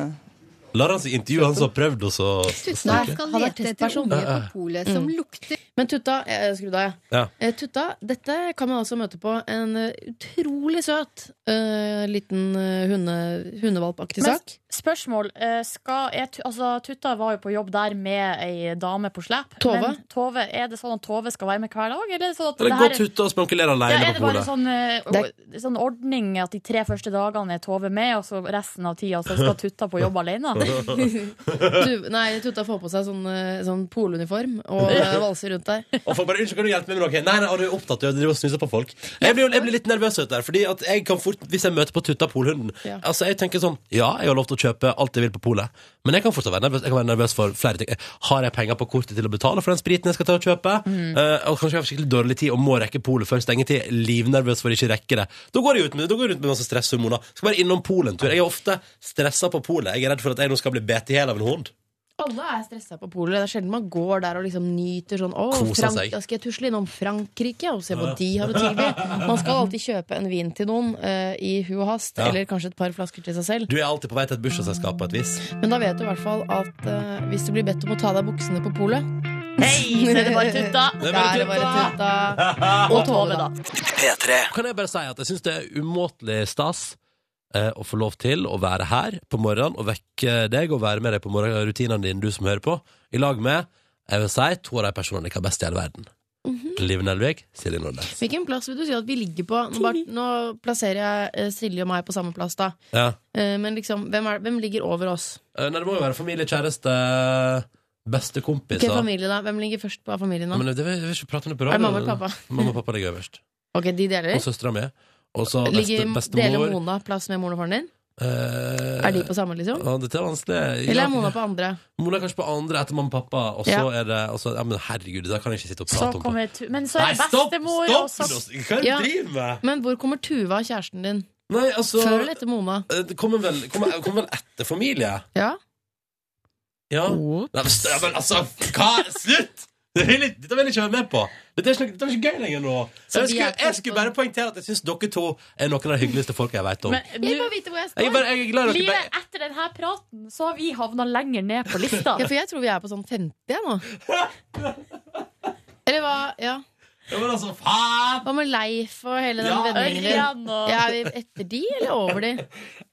Lar han seg intervjue, han som har prøvd, og så
Tutta skal
Han er
lete etter
testperson. Mm.
unge på polet som lukter
Men Tutta eh, Skru deg, ja.
Ja.
Eh, Tutta, dette kan man altså møte på en eh, utrolig søt eh, liten eh, hunde, hundevalpaktig
Men-
sak.
Spørsmål. eh, Skal, er, Tu- altså, Tutta var jo på jobb der med ei dame på slep.
Tove?
Men Tove, er det sånn at Tove skal være med hver dag? Eller er det sånn at
Eller
det
gå
her-
tutte og spankulere
ja,
alene
er det
på
bare
polet.
sånn, eh, o- sånn ordning at de tre første dagene er Tove med, og så resten av tida så skal Tutta på jobb alene?
Du, nei, Tutta får på seg sånn, eh, sånn poluniform og eh, valser rundt deg.
Og folk bare 'Unnskyld, kan du hjelpe meg med noe?' Nei, nei, og du er opptatt av å drive og snuse på folk. Jeg blir, jo- jeg blir litt nervøs vet du, der, Fordi at jeg kan fort, hvis jeg møter på Tutta Polhunden
Ja.
Altså, jeg tenker sånn Ja, jeg har lov til å kjøpe alt jeg vil på polet, men jeg kan fortsatt være nervøs. Jeg kan være nervøs for flere ting. Har jeg penger på kortet til å betale for den spriten jeg skal ta og kjøpe? Eh, og kanskje jeg har skikkelig dårlig tid og må rekke polet før stengetid. Livnervøs for å ikke rekke det. Da går jeg ut med, da går jeg ut med masse stresshormoner. Skal bare innom polet en tur. Jeg er ofte stressa på polet. Jeg er redd for at jeg nå skal bli bet i hjel av en hund.
Alle er stressa på polet. Det er sjelden man går der og liksom nyter sånn Å,
Koser
Frank,
seg.
da skal jeg tusle innom Frankrike og se hva
Ja.
de har å tilby. Man skal alltid kjøpe en vin til noen eh, i hu og hast,
Ja.
eller kanskje et par flasker til seg selv.
Du er alltid på vei til et bursdagsselskap på et vis.
Men da vet du i hvert fall at eh, hvis du blir bedt om å ta av deg buksene på polet
Hei, så er det bare tutta.
Det er bare tutta. Og Tove, da.
Kan jeg bare si at jeg syns det er umåtelig stas eh, å få lov til å være her på morgenen og vekke deg og være med deg på morgenrutinene dine, du som hører på, i lag med jeg vil si, to av de personene jeg liker best i hele verden.
Mhm.
Liv Nelvik, Silje Nordnes.
Hvilken plass vil du si at vi ligger på? Nå, bare, nå plasserer jeg eh, Silje og meg på samme plass, da.
Ja.
Eh, men liksom, hvem, er, hvem ligger over oss?
Eh, Nei, det må jo være familie, kjæreste, beste
Hvilken
kompiser.
familie da? Hvem ligger først på av familien nå?
Men eh, det vil, jeg vil ikke prate om det på
Er det mamma og pappa?
Mamma og pappa ligger øverst.
Ok, de deler?
Og søstera mi. Og så beste,
Ligger deler
bestemor.
Mona plass med moren og faren din?
Eh,
Er de på samme, liksom?
Ja, dette er vanskelig.
Eller er Mona på andre?
Mona er kanskje på andre etter mamma og pappa, og så
Ja.
er det og så, ja, Men herregud, det der kan jeg ikke sitte og
Så
prate om. på-
kommer tu Men så er det bestemor,
Nei,
og så
stopp! stopp. Hva er det
Ja.
du driver med?
Men hvor kommer Tuva, kjæresten din?
Nei, altså
Før eller etter Mona?
eh, Det kommer vel, kommer, kommer vel etter familie?
Ja? Oh.
Ja. Nei, men, st- ja, men altså, hva? Slutt! Det vil jeg- Dette vil jeg ikke være med på. Dette er ikke, noe- dette er ikke gøy lenger nå.
Så
Jeg
vi er
skulle, jeg skulle bare poengtere at jeg syns dere to er noen av de hyggeligste folka jeg veit om.
Men
Jeg vil
nå-
bare vite hvor jeg
Jeg er,
står.
bare, jeg er glad i dere
Livet etter denne praten, så har vi havna lenger ned på lista.
Ja, for jeg tror vi er på sånn 50 jeg, nå. Eller hva? Ja.
begge. Ja, men altså, faen!
Hva med Leif og hele den
Ja,
vendingen din?
Ørjan og
Ja, er vi etter de, eller over de?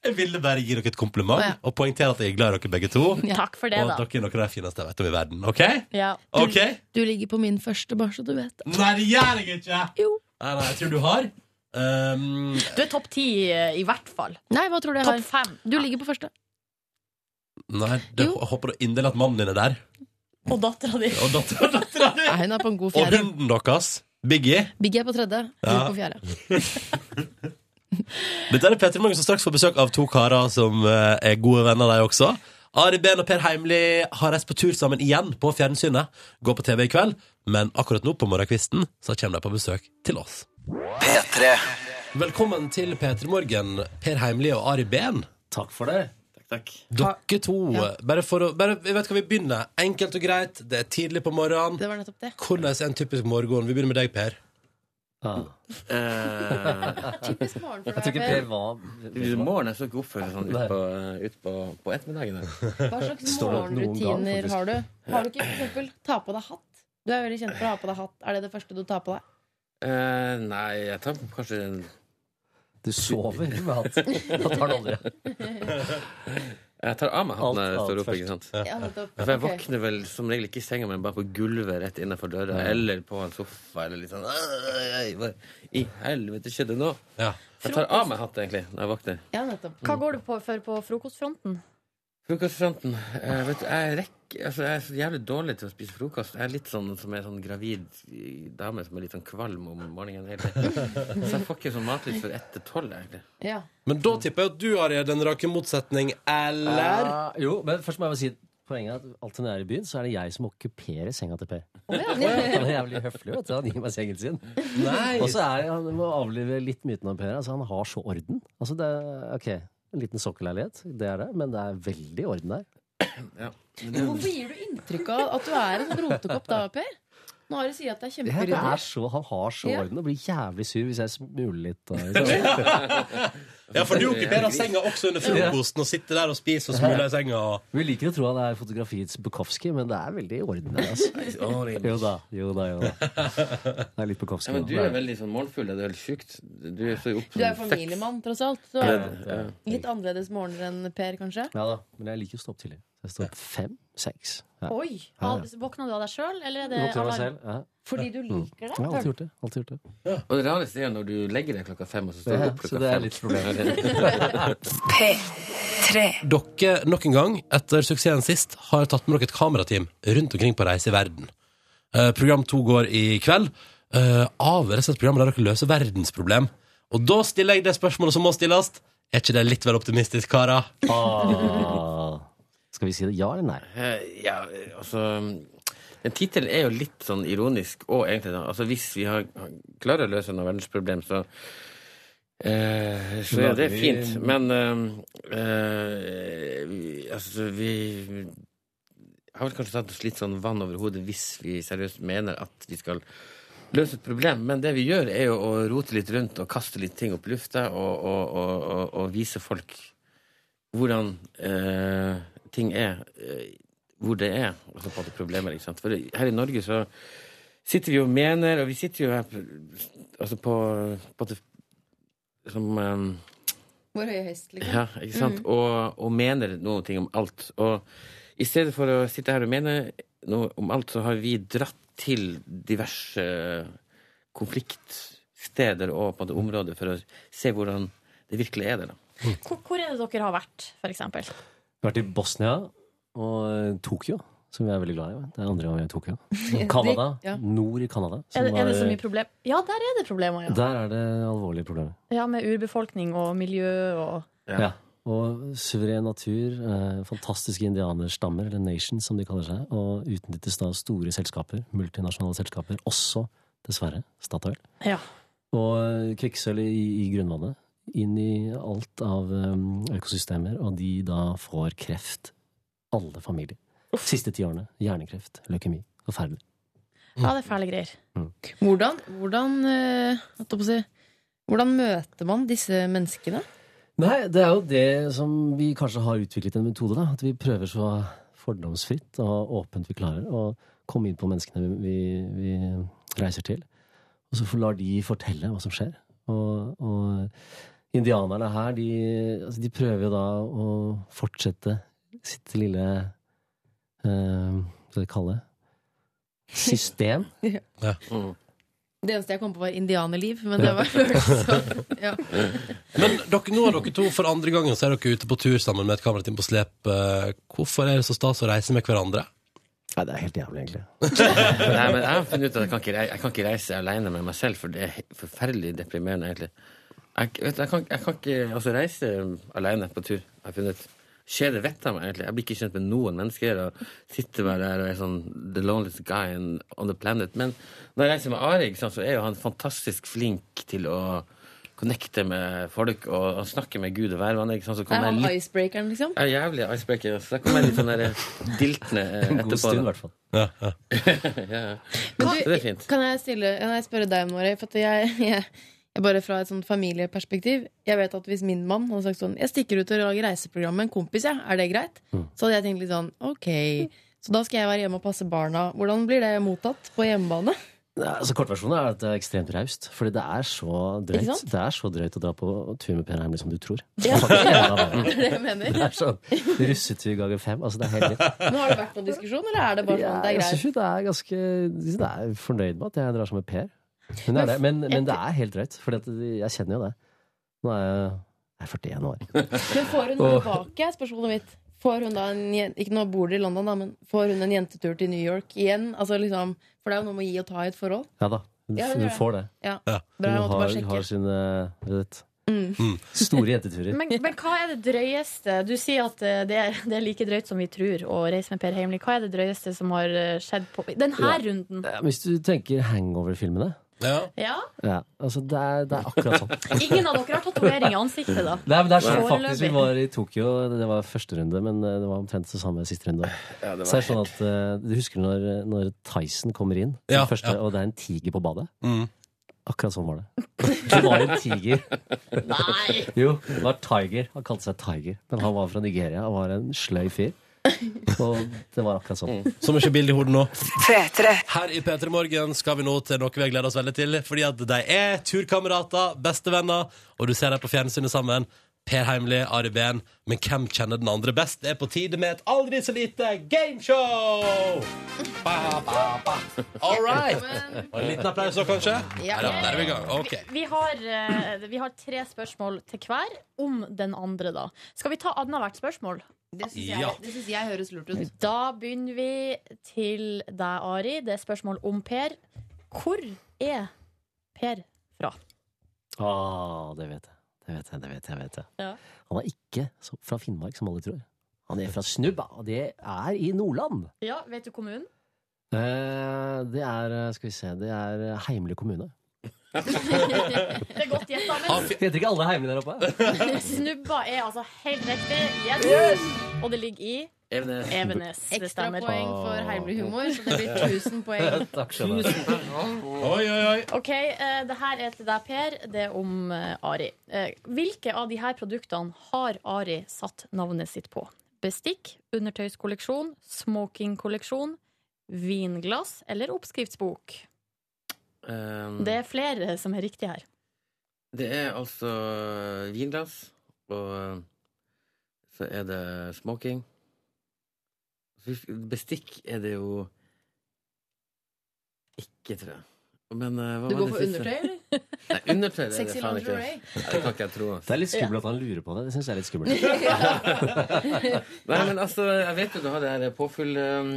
Jeg ville bare gi dere et kompliment
Å, ja.
og poengtere at jeg er glad i dere begge to.
Takk for det,
Og at
da.
dere er noen av de fineste jeg vet om i verden. OK?
Ja.
Ok?
Du ligger på min første, bare så du vet det.
Nei, det gjør jeg ikke!
Jo.
Nei, nei, jeg tror du har. Um,
Du er topp ti, eh, i hvert fall.
Nei, hva tror du jeg
Topp
har?
fem.
Du ligger på første.
nei, det,
Jo.
jeg håper da inderlig at mannen din er der.
Og dattera di.
Og dattera dattera di!
Nei, hun er på en god
Og
fjerde.
hunden deres, Biggie.
Biggie er på tredje, du
Ja.
på fjerde.
Dette er Petter Morgen som straks får besøk av to karer som eh, er gode venner, de også. Ari Behn og Per Heimli har reist på tur sammen igjen på fjernsynet. Går på TV i kveld, men akkurat nå på morgenkvisten så kommer de på besøk til oss.
P3.
Velkommen til P3 Morgen, Per Heimli og Ari Behn.
Takk for det. Takk, takk.
Dere to. Bare for å bare, Jeg vet hva vi begynner. Enkelt og greit. Det er tidlig på morgenen.
Det var nettopp det.
Hvordan er en typisk morgen? Vi begynner med deg, Per.
Eh,
Typisk morgen for
jeg tror
deg.
ikke
Per.
Per var Morgen er så ikke opp før sånn utpå ut på- på ettermiddagen. der.
Hva slags
Står det noen gang,
morgenrutiner
faktisk?
har du? Har du ikke for eksempel ta på deg hatt? Du er veldig kjent for å ha på deg hatt. Er det det første du tar på deg?
Eh, nei, jeg tar kanskje en
Du sover med hatt. Hatt har du aldri.
Jeg tar av meg hatten når jeg
Alt-
står
alt
opp. ikke sant?
Ja, nettopp.
For jeg
Ok.
våkner vel som regel ikke i senga, men bare på gulvet rett innenfor døra. Eller på en sofa, eller litt sånn «Øy, Hva i helvete skjedde nå?
Ja.
Jeg tar av meg hatten, egentlig, når jeg våkner.
Ja, nettopp.
Hva går du på for på frokostfronten?
Frokostfronten. Eh, vet du, jeg, rekker, altså, jeg er så jævlig dårlig til å spise frokost. Jeg er litt sånn som en sånn gravid dame som er litt sånn kvalm om morgenen. hele tiden. Så jeg får ikke sånn matlyst før etter tolv, egentlig.
Ja.
Men da tipper jeg at du, Ari, er den rake motsetning, eller?
Eh, jo, men først må jeg bare si poenget er at alltid når jeg er i byen, så er det jeg som okkuperer senga til Per. Han er jævlig høflig, vet du. Han gir meg sengen sin.
Nei!
Og så er han må avlive litt myten om Per. Altså, han har så orden. Altså, det er, ok, en liten sokkelleilighet, det er det, men det er veldig orden der.
Hvorfor gir du inntrykk av at du er en sånn rotekopp da, Per? Nå har du sagt at det er
Det er, det er
kjemperyddig.
så, han har så
Ja.
orden og blir jævlig sur hvis jeg smuler litt. Og, liksom.
Ja, for du okkuperer senga også under frokosten og sitter der og spiser og smuler i senga. og-
Vi liker å tro han er fotografiets Bukowski, men det er veldig i orden der. Altså. Jo da, jo da, jo da. Det er litt Bukowski.
Ja, men
da.
du
Det
er
er-
veldig sånn morgenfull. Det er helt sjukt. Du er så opp
Du er
sånn seks.
familiemann, tross alt. Så
Ja, det er-
litt annerledes morgener enn Per, kanskje?
Ja da, men jeg liker å stå opp tidlig. Så Jeg står opp fem, seks. Ja.
Oi!
Ja, ja.
Våkna du av deg sjøl, eller er det
Nå til meg
alarm?
selv. Ja. Mm.
Fordi du liker
Jeg har alltid
det?
gjort det. Alltid gjort det.
Og det rareste er når du legger deg klokka fem, og så står du
Ja,
opp
så
klokka
det er
fem.
litt problem.
P3.
Dere, nok en gang, etter suksessen sist, har tatt med dere et kamerateam rundt omkring på reise i verden. Eh, program to går i kveld. Eh, av rett og slett programmet der dere løser verdensproblem. Og da stiller jeg det spørsmålet som må stilles. Er ikke det litt vel optimistisk, karer?
Ah. Skal vi si det ja eller nei?
Eh, Ja, eh, altså Den tittelen er jo litt sånn ironisk, og egentlig da, altså hvis vi har, klarer å løse noe verdensproblem, så eh, så er det fint, men eh, eh, vi- altså, vi har vel kanskje tatt oss litt sånn vann over hodet hvis vi seriøst mener at vi skal løse et problem, men det vi gjør, er jo å rote litt rundt og kaste litt ting opp i lufta og, og, og, og, og vise folk hvordan eh, ting er, eh, hvor det er, og så på en måte problemer, ikke sant? For det- her i Norge så sitter vi og mener, og vi sitter jo her på, altså på, på det, som eh,
Vår høye hest, liksom.
ja, ikke sant?
Mm.
Og, og mener noen ting om alt. Og i stedet for å sitte her og mene noe om alt, så har vi dratt til diverse konfliktsteder og på en måte områder for å se hvordan det virkelig er der. da.
Hvor, hvor er det dere har vært, for eksempel?
Vi har vært i Bosnia og eh, Tokyo, som vi er veldig glad i. Det er andre gang vi er i Tokyo.
Det-
Canada.
ja.
Nord i Canada. som
Er det, er det så
er-
mye problem? Ja, der er det problemer, ja.
Der er det alvorlige problemer.
Ja, Med urbefolkning og miljø og
Ja. Og suveren natur, eh, fantastiske indianerstammer, eller nations som de kaller seg, og utnyttes da av store selskaper, multinasjonale selskaper, også dessverre Statoil.
Ja.
Og eh, kvikksølv i, i grunnvannet, inn i alt av eh, økosystemer, og de da får kreft. Alle familier. Siste ti årene. Hjernekreft, leukemi. Forferdelig.
Ja, det er fæle greier.
Mm.
Hvordan, hvordan, eh, holdt jeg på å si, hvordan møter man disse menneskene?
Nei, det er jo det som vi kanskje har utviklet en metode, da. At vi prøver så fordomsfritt og åpent vi klarer å komme inn på menneskene vi, vi reiser til. Og så får- lar de fortelle hva som skjer. Og, og indianerne her, de, altså, de prøver jo da å fortsette sitt lille eh, Hva skal vi kalle det? System.
Ja.
Det eneste jeg kom på, var indianerliv. Men det var så, ja.
Men dere, nå er dere to for andre gangen Så er dere ute på tur sammen med et kamerateam på slep. Eh, Hvorfor er det så stas å reise med hverandre?
Nei, det er helt jævlig, egentlig.
Nei, men jeg har funnet ut at jeg kan ikke, rei- jeg kan ikke reise alene med meg selv, for det er he- forferdelig deprimerende, egentlig. Jeg, vet, du, jeg, kan, jeg kan ikke altså, reise alene på tur. Jeg har funnet ut. Skjer det vettet av meg, egentlig? Jeg blir ikke kjent med noen mennesker. og sitter bare der og er sånn the loneliest guy in- on the planet. Men når jeg reiser med Ari, ikke sant, så er jo han fantastisk flink til å connecte med folk og, og snakke med Gud og hvermann. ikke sant, Så
Er
kommer
han
jeg litt
icebreakeren, liksom?
ja, jævlig icebreaker. Så da kommer jeg litt sånn der diltende eh,
En
etterpå.
god stund, i hvert fall.
Ja, ja.
ja, ja.
Men
Så det er fint.
Kan jeg, stille, kan jeg spørre deg, Måre? For at jeg, jeg, jeg bare fra et sånt familieperspektiv Jeg vet at hvis min mann hadde sagt sånn Jeg stikker ut og lager reiseprogram med en kompis, jeg. Er det greit?
Mm.
Så hadde jeg tenkt litt sånn Ok, så da skal jeg være hjemme og passe barna. Hvordan blir det mottatt på hjemmebane?
Nei, altså Kortversjonen er at det er ekstremt raust. Fordi det er så
Ikke
drøyt
sant?
Det er så drøyt å dra på tur med Per Heimly som du tror.
Ja.
Det er faktisk
Det er det jeg mener.
Det er sånn russetur ganger fem. Altså, det er helt vilt.
Men Har det vært noen diskusjon, eller er det bare sånn det er
Jeg
greit?
synes jo det er ganske liksom, Det er fornøyd med at jeg drar sammen med Per. Hun er det. Men, men det er helt drøyt. For jeg kjenner jo det. Nå er jeg, jeg er 41 år.
Men får hun noe
Og-
tilbake? er Spørsmålet mitt. Får hun da en, jen- ikke nå bor dere i London, da, men får hun en jentetur til New York igjen? Altså liksom, for det er jo noe med å gi og ta i et forhold.
Ja da. Hun,
Ja, hun
hun
gjør det.
får det.
Ja.
Hun
Ja. Bra, jeg måtte bare
har,
sjekke.
har sine du vet,
Mm.
store jenteturer.
Men, men hva er det drøyeste Du sier at eh, det er, det er like drøyt som vi tror å reise med Per Heimly. Hva er det drøyeste som har eh, skjedd på denne
Ja.
runden?
Ja, Hvis du tenker hangover-filmene
Ja.
Ja, altså det er, det er akkurat sånn.
Ingen av dere har tatovering i ansiktet, da?
Nei, men det er sånn
Foreløpig.
faktisk Vi var i Tokyo, det var første runde, men eh, det var omtrent det samme siste runde.
det var
så er det sånn at eh, Du husker når, når Tyson kommer inn, den
Ja,
første, og det er en tiger på badet?
Mm.
Akkurat sånn var det. Det var en tiger. Nei! Jo, det var Tiger. Han kalte seg Tiger, men han var fra Nigeria og var en sløy fyr. Og det var akkurat sånn.
Som ikke Mm. bilde i hodet nå. Her i P3 Morgen skal vi nå til noe vi har gleda oss veldig til. Fordi at de er turkamerater, bestevenner, og du ser dem på fjernsynet sammen. Per Heimli, Ari Behn. Men hvem kjenner den andre best? Det er på tide med et aldri så lite gameshow! Ba, ba, ba. All right. Og en liten applaus òg, kanskje?
Ja.
Der, der er vi i gang. Ok.
Vi, vi, har, eh, vi har tre spørsmål til hver om den andre, da. Skal vi ta annethvert spørsmål?
Det
syns jeg- Ja.
det syns jeg høres lurt ut.
Da begynner vi til deg, Ari. Det er spørsmål om Per. Hvor er Per?
Ah, det vet jeg. Det vet jeg, det vet jeg, vet jeg.
Ja.
Han er ikke så- fra Finnmark, som alle tror. Han er fra Snubba, og det er i Nordland.
ja, vet du kommunen?
Eh, Det er, skal vi se, det er Heimli kommune.
det er godt gjetta, men
Heter ikke alle Heimli der oppe?
Snubba er altså helt riktig. Yes! Og det ligger i
Evenes.
Evenes. Det
Ekstra
stemmer.
poeng for Heimly-humor, så det blir 1000 poeng.
Takk skal du ha.
Oi, oi, oi.
Ok, eh, det her er til deg, Per. Det er om eh, Ari. Eh, Hvilke av de her produktene har Ari satt navnet sitt på? Bestikk, undertøyskolleksjon, smokingkolleksjon, vinglass eller oppskriftsbok?
Um,
Det er flere som er riktig her.
Det er altså vinglass, og eh, så er det smoking. Bestikk er det jo ikke, tror jeg. Men eh, hva
Du
var
går
det
for
siste?
undertøy, eller?
Nei, undertøy det er
Sexy
det faen ikke.
lingerie.
Nei, Det kan ikke jeg tro.
Det er litt skummelt at han lurer på det. Det syns jeg er litt skummelt.
Nei, men altså, jeg vet jo du har det her påfyll um,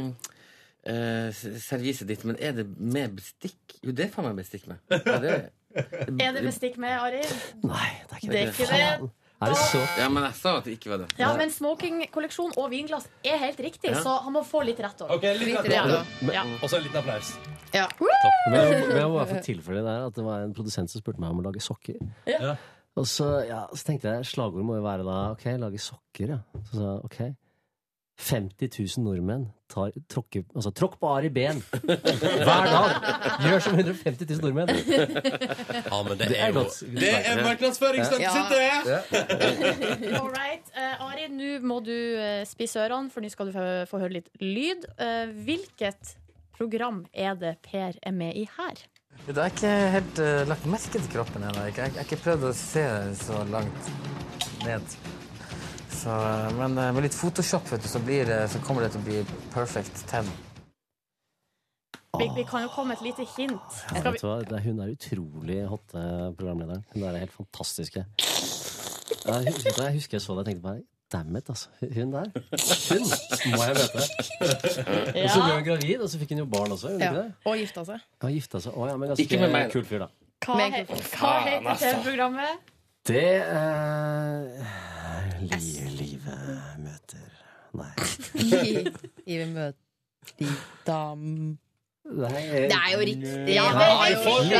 eh, serviset ditt, men er det med bestikk? Jo, det får man bestikk med. Ja, det er
Er det bestikk med, Ari?
Nei,
det er ikke det.
Er det så? Ja, men jeg sa at det ikke var det.
Ja, men smokingkolleksjon og vinglass er helt riktig,
Ja.
så han må få litt rett òg.
Ok, litt rett
Ja.
da.
Men-
Ja.
Og så en liten applaus.
Ja.
Men jeg, men jeg må bare få tilfelle det der at det var en produsent som spurte meg om å lage sokker.
Ja.
Og så, ja, så tenkte jeg slagordet må jo være da ok, lage sokker, ja. Så sa jeg ok. 50 000 nordmenn tar, tråkker, altså, tråkk på Ari Behn hver dag! Gjør som 150 000 nordmenn!
Ja, men det er jo
godt.
Det er markedsføringsstøtte
Ja.
sitt, det!
All right. Eh, Ari, nå må du eh, spisse ørene, for nå skal du få, få høre litt lyd. Eh, hvilket program er det Per er med i her?
Jeg har ikke helt eh, lagt merke til kroppen ennå. Jeg jeg- jeg har ikke prøvd å se så langt ned. Så, eh, men eh, med litt Photoshop vet du, så, blir, det- så kommer det til å bli perfect 10.
Vi, vi kan jo komme med et lite hint. Skal
Vet
vi...
du hva? Det er- Hun er utrolig hot, eh, programlederen. Hun er helt fantastisk. Jeg husker, jeg husker jeg så det og tenkte bare Dammit, altså. Hun der. Hun må jeg møte. Og så ble hun gravid, og så fikk hun jo barn også. Gjorde hun ikke det?
Og gifta seg.
Ja, gifta seg. Å, ja, men altså, ganske
Ikke med meg.
kul fyr, da.
Hva,
Men-
he hva heter TV-programmet?
Det eh, li, Livet møter
Gi- gi vi møte de dam...
Det
er jo
eh,
riktig.
Ja, det er jo riktig.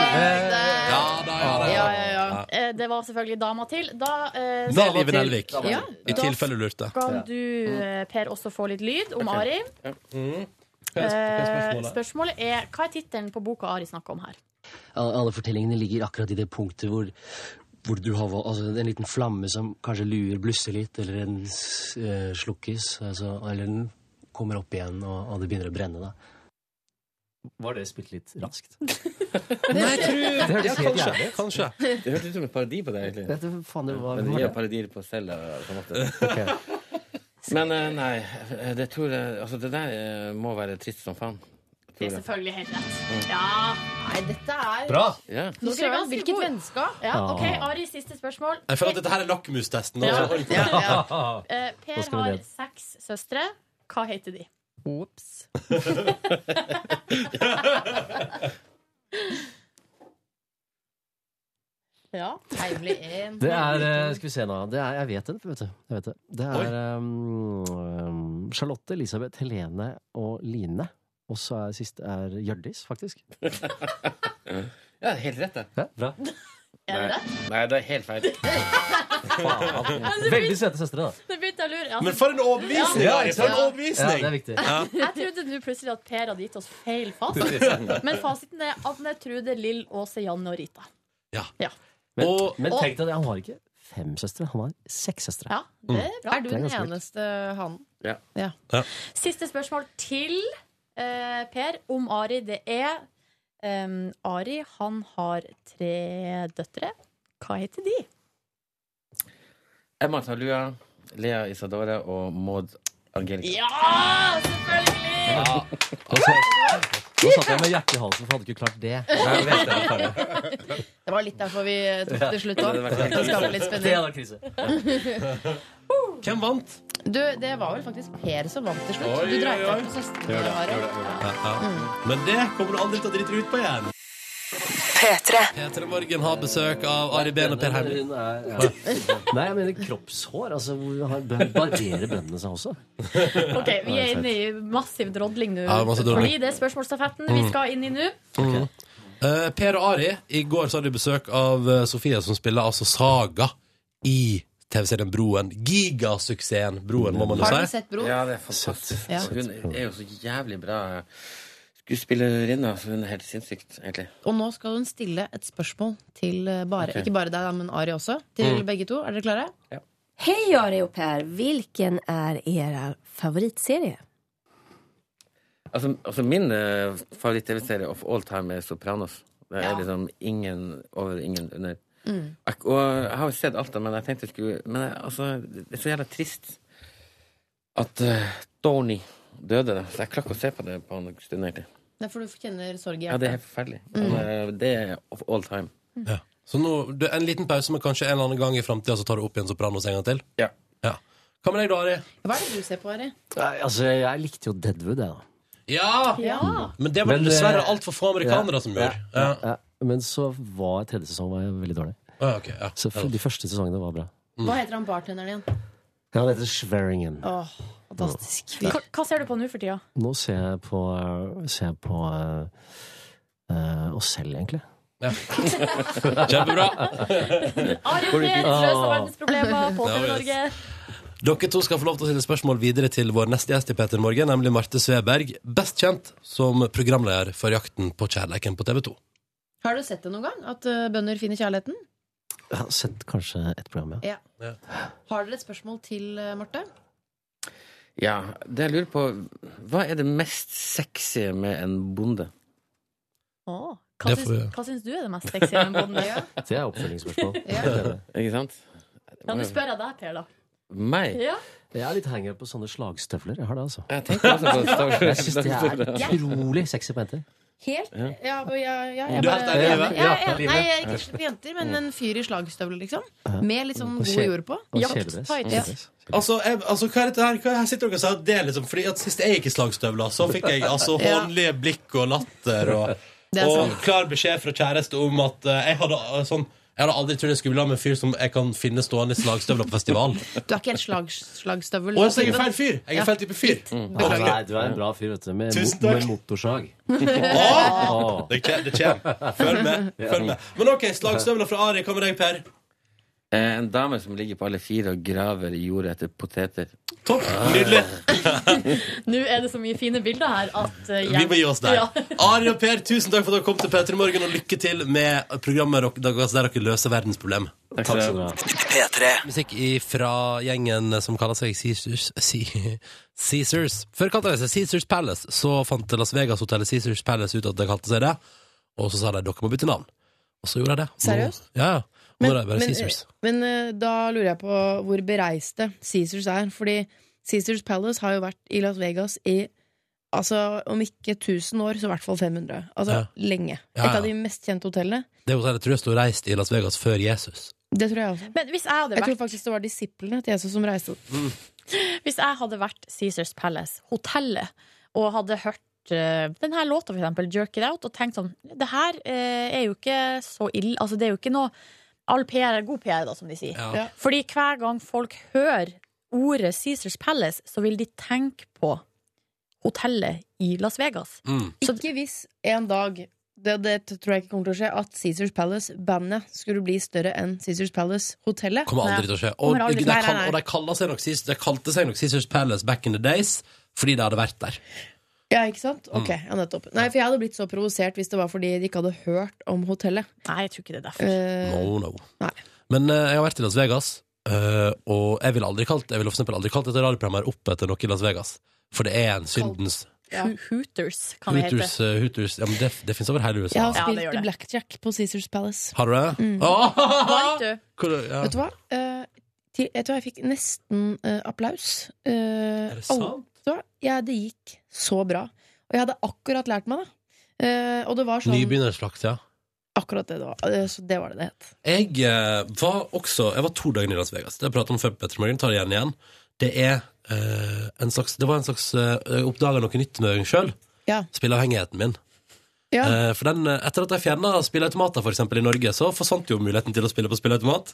ja,
Eh, Det var selvfølgelig dama til. Da eh,
Nå er Liven Elvik.
Ja,
I tilfelle du lurte.
Skal du, eh, Per, også få litt lyd om
Ok.
Ari?
Mm.
Hva er sp- hva er
Eh,
spørsmålet?
Spørsmålet er hva er tittelen på boka Ari snakker om her?
Alle alle fortellingene ligger akkurat i det punktet hvor, hvor du har val- altså, en liten flamme som kanskje lurer, blusser litt, eller den s- eh, slukkes, altså, eller den kommer opp igjen, og, og det begynner å brenne, da. Var det spilt litt raskt?
Nei, jeg tror
Det hørtes helt jævlig ut.
Det hørtes ut som en parodi på det, egentlig.
Dette, faen, det var-
Men det er jo parodier på selv, da, på en måte. Men eh, nei, det tror jeg Altså, det der eh, må være trist som faen.
Det er
Tror jeg.
selvfølgelig helt
Mm.
rett. Ja. Nei, dette er
Bra. Ja.
Nå skal vi ganske
Hvilket
god.
vennskap.
Ja,
Ah.
ok,
Ja.
Ari, siste spørsmål.
Jeg føler at dette her er lakmustesten.
Ja.
altså.
Eh,
Nå
per
skal vi
har
ned.
seks søstre. Hva heter de?
Ops.
Ja.
Heimlig en.
Det er eh, Skal vi se nå. Det er, jeg vet det, vet du. Jeg vet det. det er um, um, Charlotte, Elisabeth, Helene og Line. Og så er siste er Hjørdis, faktisk.
ja, helt rett, det.
Ja, bra.
Er det altså,
Nei. Nei, det er helt feil.
Veldig søte søstre, da.
Det begynte jeg å lure. altså.
Men for en overbevisning,
Ja.
Ari, for en overbevisning. Ja, det er viktig. Ja.
Jeg trodde nå plutselig at Per hadde gitt oss feil fasit.
Plutselig.
Men fasiten er Anne, Trude, Lill, Åse, Janne og Rita. Ja.
Men, men
og-
tenk deg det, han har ikke fem søstre, han har seks søstre.
Ja, det er bra. Er du den
ganske vilt.
Eneste hanen.
Ja.
Ja.
Siste spørsmål til eh, Per om Ari. Det er em, Ari, han har tre døtre. Hva heter de?
Emma Talua, Lea Isadora og Maud Angelica.
Ja. Nå satt, nå satt jeg med hjertet i halsen, for jeg hadde ikke klart det.
Jeg vet det, jeg vet det.
Det var litt derfor vi tok det til slutt
Ja.
òg.
Det hadde vært
For å skape litt
Det hadde vært
spenning.
Hvem vant?
Du, det var vel faktisk Per som vant til slutt.
Oi,
Du dreit
oi,
deg
oi.
ut på søstrene.
Gjør det,
Are.
gjør det, gjør det. Ja, ja.
Mm.
Men det kommer du aldri til å drite ut på igjen.
P3.
Peter Morgen har besøk av Ari Behn og Per Hermli.
Nei, jeg mener kroppshår. Altså, hvor har bøn- Barberer bøndene seg også?
Ok, Vi er inne i massiv drodling nå.
Ja, masse drodling.
Fordi det er spørsmålsstafetten vi
Mm.
skal inn i nå.
Mhm. Eh, per og Ari, i går så hadde de besøk av eh, Sofie, som spiller altså Saga i TV-serien Broen. Gigasuksessen Broen, må man jo si.
Har du sett Broen? Ja, det er fantastisk.
Ja.
Hun er jo så jævlig bra skuespillerinne. Så hun er helt sinnssykt, egentlig.
Og nå skal hun stille et spørsmål til eh, bare,
Ok.
ikke bare deg, da, men Ari også.
Mm.
Til begge to. Er dere klare?
Hej Ari och Per, vilken är era favoritserie?
Altså, altså min eh, favoritt-TV-serie of all time er Sopranos. Det er liksom ingen over, ingen under.
Mm.
Ak- Og jeg har jo sett alt det, men jeg tenkte jeg skulle Men jeg, altså, det er så jævla trist at eh, Tony døde, da. Så jeg klarer ikke å se på det på en stund, egentlig.
Nei, for du kjenner sorg i
Ja, det er helt
hjertet.
forferdelig.
Mm.
Men, eh, Det er of all time.
Så nå, du, en liten pause, men kanskje en eller annen gang i framtida så tar du opp igjen Sopranos en gang til?
Ja.
Hva med deg da, Ari?
Hva er det du ser på, Ari?
Nei, altså, jeg likte jo Deadwood, jeg, da.
Ja! Men det var
Men,
det dessverre
eh,
altfor få amerikanere
ja.
som gjorde.
Ja, ja. Men så var tredje sesong var jeg veldig dårlig.
Ah, ok, ja. Mm.
Så f- de første sesongene var bra.
Hva heter han bartenderen igjen?
Ja, det heter Schweringen.
Åh, fantastisk.
Hva, hva ser du på nå for tida?
Nå ser jeg på, ser jeg på eh, eh, oss selv, egentlig.
Ja.
Kjempebra.
Ari
Går
Fred,
det ikke?
løser
Ah.
verdensproblemer på
Ja,
TV
yes.
Norge.
Dere to skal få lov til å stille spørsmål videre til vår neste gjest i Peter Morgen, nemlig Marte Sveberg, best kjent som programleder for Jakten på kjærleiken på TV 2.
Har du sett det noen gang? At eh, bønder finner kjærligheten?
Jeg har sett kanskje et program, ja.
Ja. Har dere et spørsmål til eh, Marte?
Ja, det jeg lurer på Hva er det mest sexy med en bonde?
Åh, hva,
Det
syns,
får jeg.
hva syns du er det mest sexy med en bonde? Ja.
Det er oppfølgingsspørsmål.
Ja.
Ikke sant?
Ja, nå spør jeg deg, Per, da.
Meg?
Ja.
Jeg er litt henger på sånne slagstøvler. Jeg har det, altså.
Jeg tenker også på slagstøvler.
syns det er utrolig sexy på jenter.
Helt?
Ja.
Ja, ja, ja, jeg
Du er helt ærlig, Live.
Ja, jeg
Ja,
er- Nei, jeg er
Live.
ikke på jenter, men en fyr i slagstøvler, liksom.
Ja.
Med litt sånn
Og
god
kje-
jord på.
og kjeledress.
Jakttights.
Og kjeledress. Altså, jeg, altså, hva er dette her? Hva, her sitter dere og sier at det er liksom Fordi at sist jeg gikk i slagstøvler, så fikk jeg altså
Ja.
hånlige blikk og latter og,
Det er
og
sant.
klar beskjed fra kjæreste om at eh, jeg hadde eh, sånn jeg hadde aldri trodd jeg skulle bli sammen med en fyr som jeg kan finne stående i slagstøvler på festival.
Du er ikke helt slag, slagstøvel.
Å, så jeg er feil fyr! Jeg
Ja.
er feil type fyr.
Å, Mm. nei, du er en bra fyr, vet du. Med,
Tusen
mo- med motorsag.
Å! Det kje- det kjem. Følg med. Følg med. Men OK, slagstøvler fra Ari. Hva med deg, Per?
Eh, En dame som ligger på alle fire og graver i jorda etter poteter.
Topp! Nydelig!
Nå er det så mye fine bilder her at eh,
Vi må gi oss der.
Ja.
Ari og Per, tusen takk for at dere kom til P3 Morgen, og lykke til med programmet dere- deres der dere løser verdensproblem.
Takk skal du ha.
P3. Musikk fra gjengen som kaller seg Caesars Ce- Caesars. Før kalte de seg Caesars Palace, så fant Las Vegas-hotellet Caesars Palace ut at de kalte seg det, og så sa de dere må bytte navn. Og så gjorde de det. Nå-
Seriøst?
Ja, ja. Nå er det bare Caesars.
men, eh, da lurer jeg på hvor bereiste Caesars er. Fordi Caesars Palace har jo vært i Las Vegas i altså, om ikke 1000 år, så i hvert fall 500. Altså
Ja.
lenge.
Ja, ja.
Et av de mest kjente hotellene.
Det hotellet tror jeg sto reist i Las Vegas før Jesus.
Det tror jeg også.
Men hvis jeg hadde
Jeg tror
vært,
faktisk det var disiplene til Jesus som reiste opp.
hvis jeg hadde vært Caesars Palace, hotellet, og hadde hørt eh, den her låta, for eksempel, Jerk It Out, og tenkt sånn Det her eh, er jo ikke så ille. Altså, det er jo ikke noe All PR er god PR, da, som de sier.
Ja. Ja.
Fordi hver gang folk hører ordet Caesars Palace, så vil de tenke på hotellet i Las Vegas.
Mm.
Ikke hvis en dag det, det tror jeg ikke kommer til å skje At Caesars Palace, bandet, skulle bli større enn Caesars Palace, hotellet.
Kommer aldri til å skje. Og,
Kommer aldri-
de,
Nei,
kall-
nei,
og
nei.
de, kaller seg nok, Caesars- de kalte seg nok Caesars Palace back in the days fordi de hadde vært der.
Ja, ikke sant? Ok,
Mm.
ja, nettopp. Nei, for jeg hadde blitt så provosert hvis det var fordi de ikke hadde hørt om hotellet. Eh,
Nei, jeg tror ikke det er
Mm.
No, no. Men eh, jeg har vært i Las Vegas, eh, og jeg ville aldri kalt, jeg ville for eksempel aldri kalt dette radioprogrammet her opp etter noe i Las Vegas. For det er en syndens
Ho- Hooters, kan det hete.
Hooters, eh, Hooters ja, men det, det finnes over hele
Jeg
USA.
har spilt blackjack på Caesars Palace.
Har du det?
Mm.
Åh!
Vant du?
Hvor- ja.
Vet du hva? Eh, til Jeg tror jeg fikk nesten eh, applaus. Eh,
Er det
alle-
sant?
Så, ja, det gikk så bra. Og jeg hadde akkurat lært meg det. Eh, og det var sånn
Nybegynnerslakt, ja.
Akkurat det det var. Eh, så det var det det het.
Jeg eh, var også Jeg var to dager i Las Vegas. Det har jeg pratet om før. på Petter Morgen, tar det igjen igjen. Det er eh, en slags Det var en slags eh, Jeg oppdaga noe nytt med meg sjøl.
Ja.
Spilleavhengigheten min.
Ja.
Eh, for den, eh, etter at jeg fjerna spilleautomater for eksempel, i Norge, så forsvant jo muligheten til å spille på spilleautomat.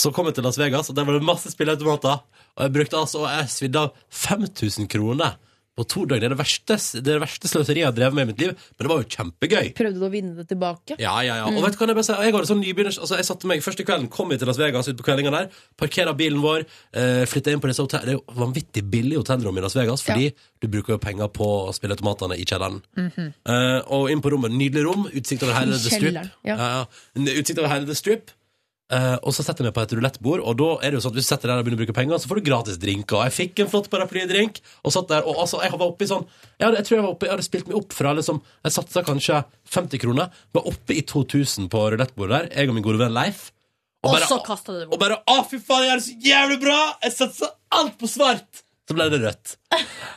Så kom jeg til Las Vegas, og der var det masse spilleautomater. Og jeg brukte altså, og jeg svidde av 5000 kroner på to dager. Det er det verste, det er det verste sløseriet jeg har drevet med i mitt liv, men det var jo kjempegøy.
Prøvde du å vinne det tilbake?
Ja, ja, ja. Og
Mm.
vet du hva det beste er? Jeg hadde sånn nybegynners... Altså, jeg satte meg første kvelden, kom jeg til Las Vegas ut på kveldingen der, parkeret bilen vår, eh, flyttet inn på disse hotellene. Det er jo vanvittig billig hotellrom i Las Vegas, fordi du bruker jo penger på å spille automatene i kjelleren.
Mhm.
Eh, og inn på rommet, nydelig rom, utsikt over hele
I
The Strip.
kjelleren, ja.
ja. Utsikt over hele The Strip. Eh, og så setter jeg meg på et roulettebord, og da er det jo sånn at hvis du setter deg der og begynner å bruke penger, så får du gratis drinker. Og jeg fikk en flott paraplydrink, og satt der, og altså, jeg var oppe i sånn jeg, hadde, jeg tror jeg var oppe, jeg hadde spilt meg opp fra liksom Jeg satsa kanskje 50 kroner, var oppe i 2000 på roulettebordet der, jeg og min gode venn Leif. Og bare,
så kasta du det bort.
og bare Å, fy faen, jeg gjør det så jævlig bra! Jeg satser alt på svart! Så ble det rødt.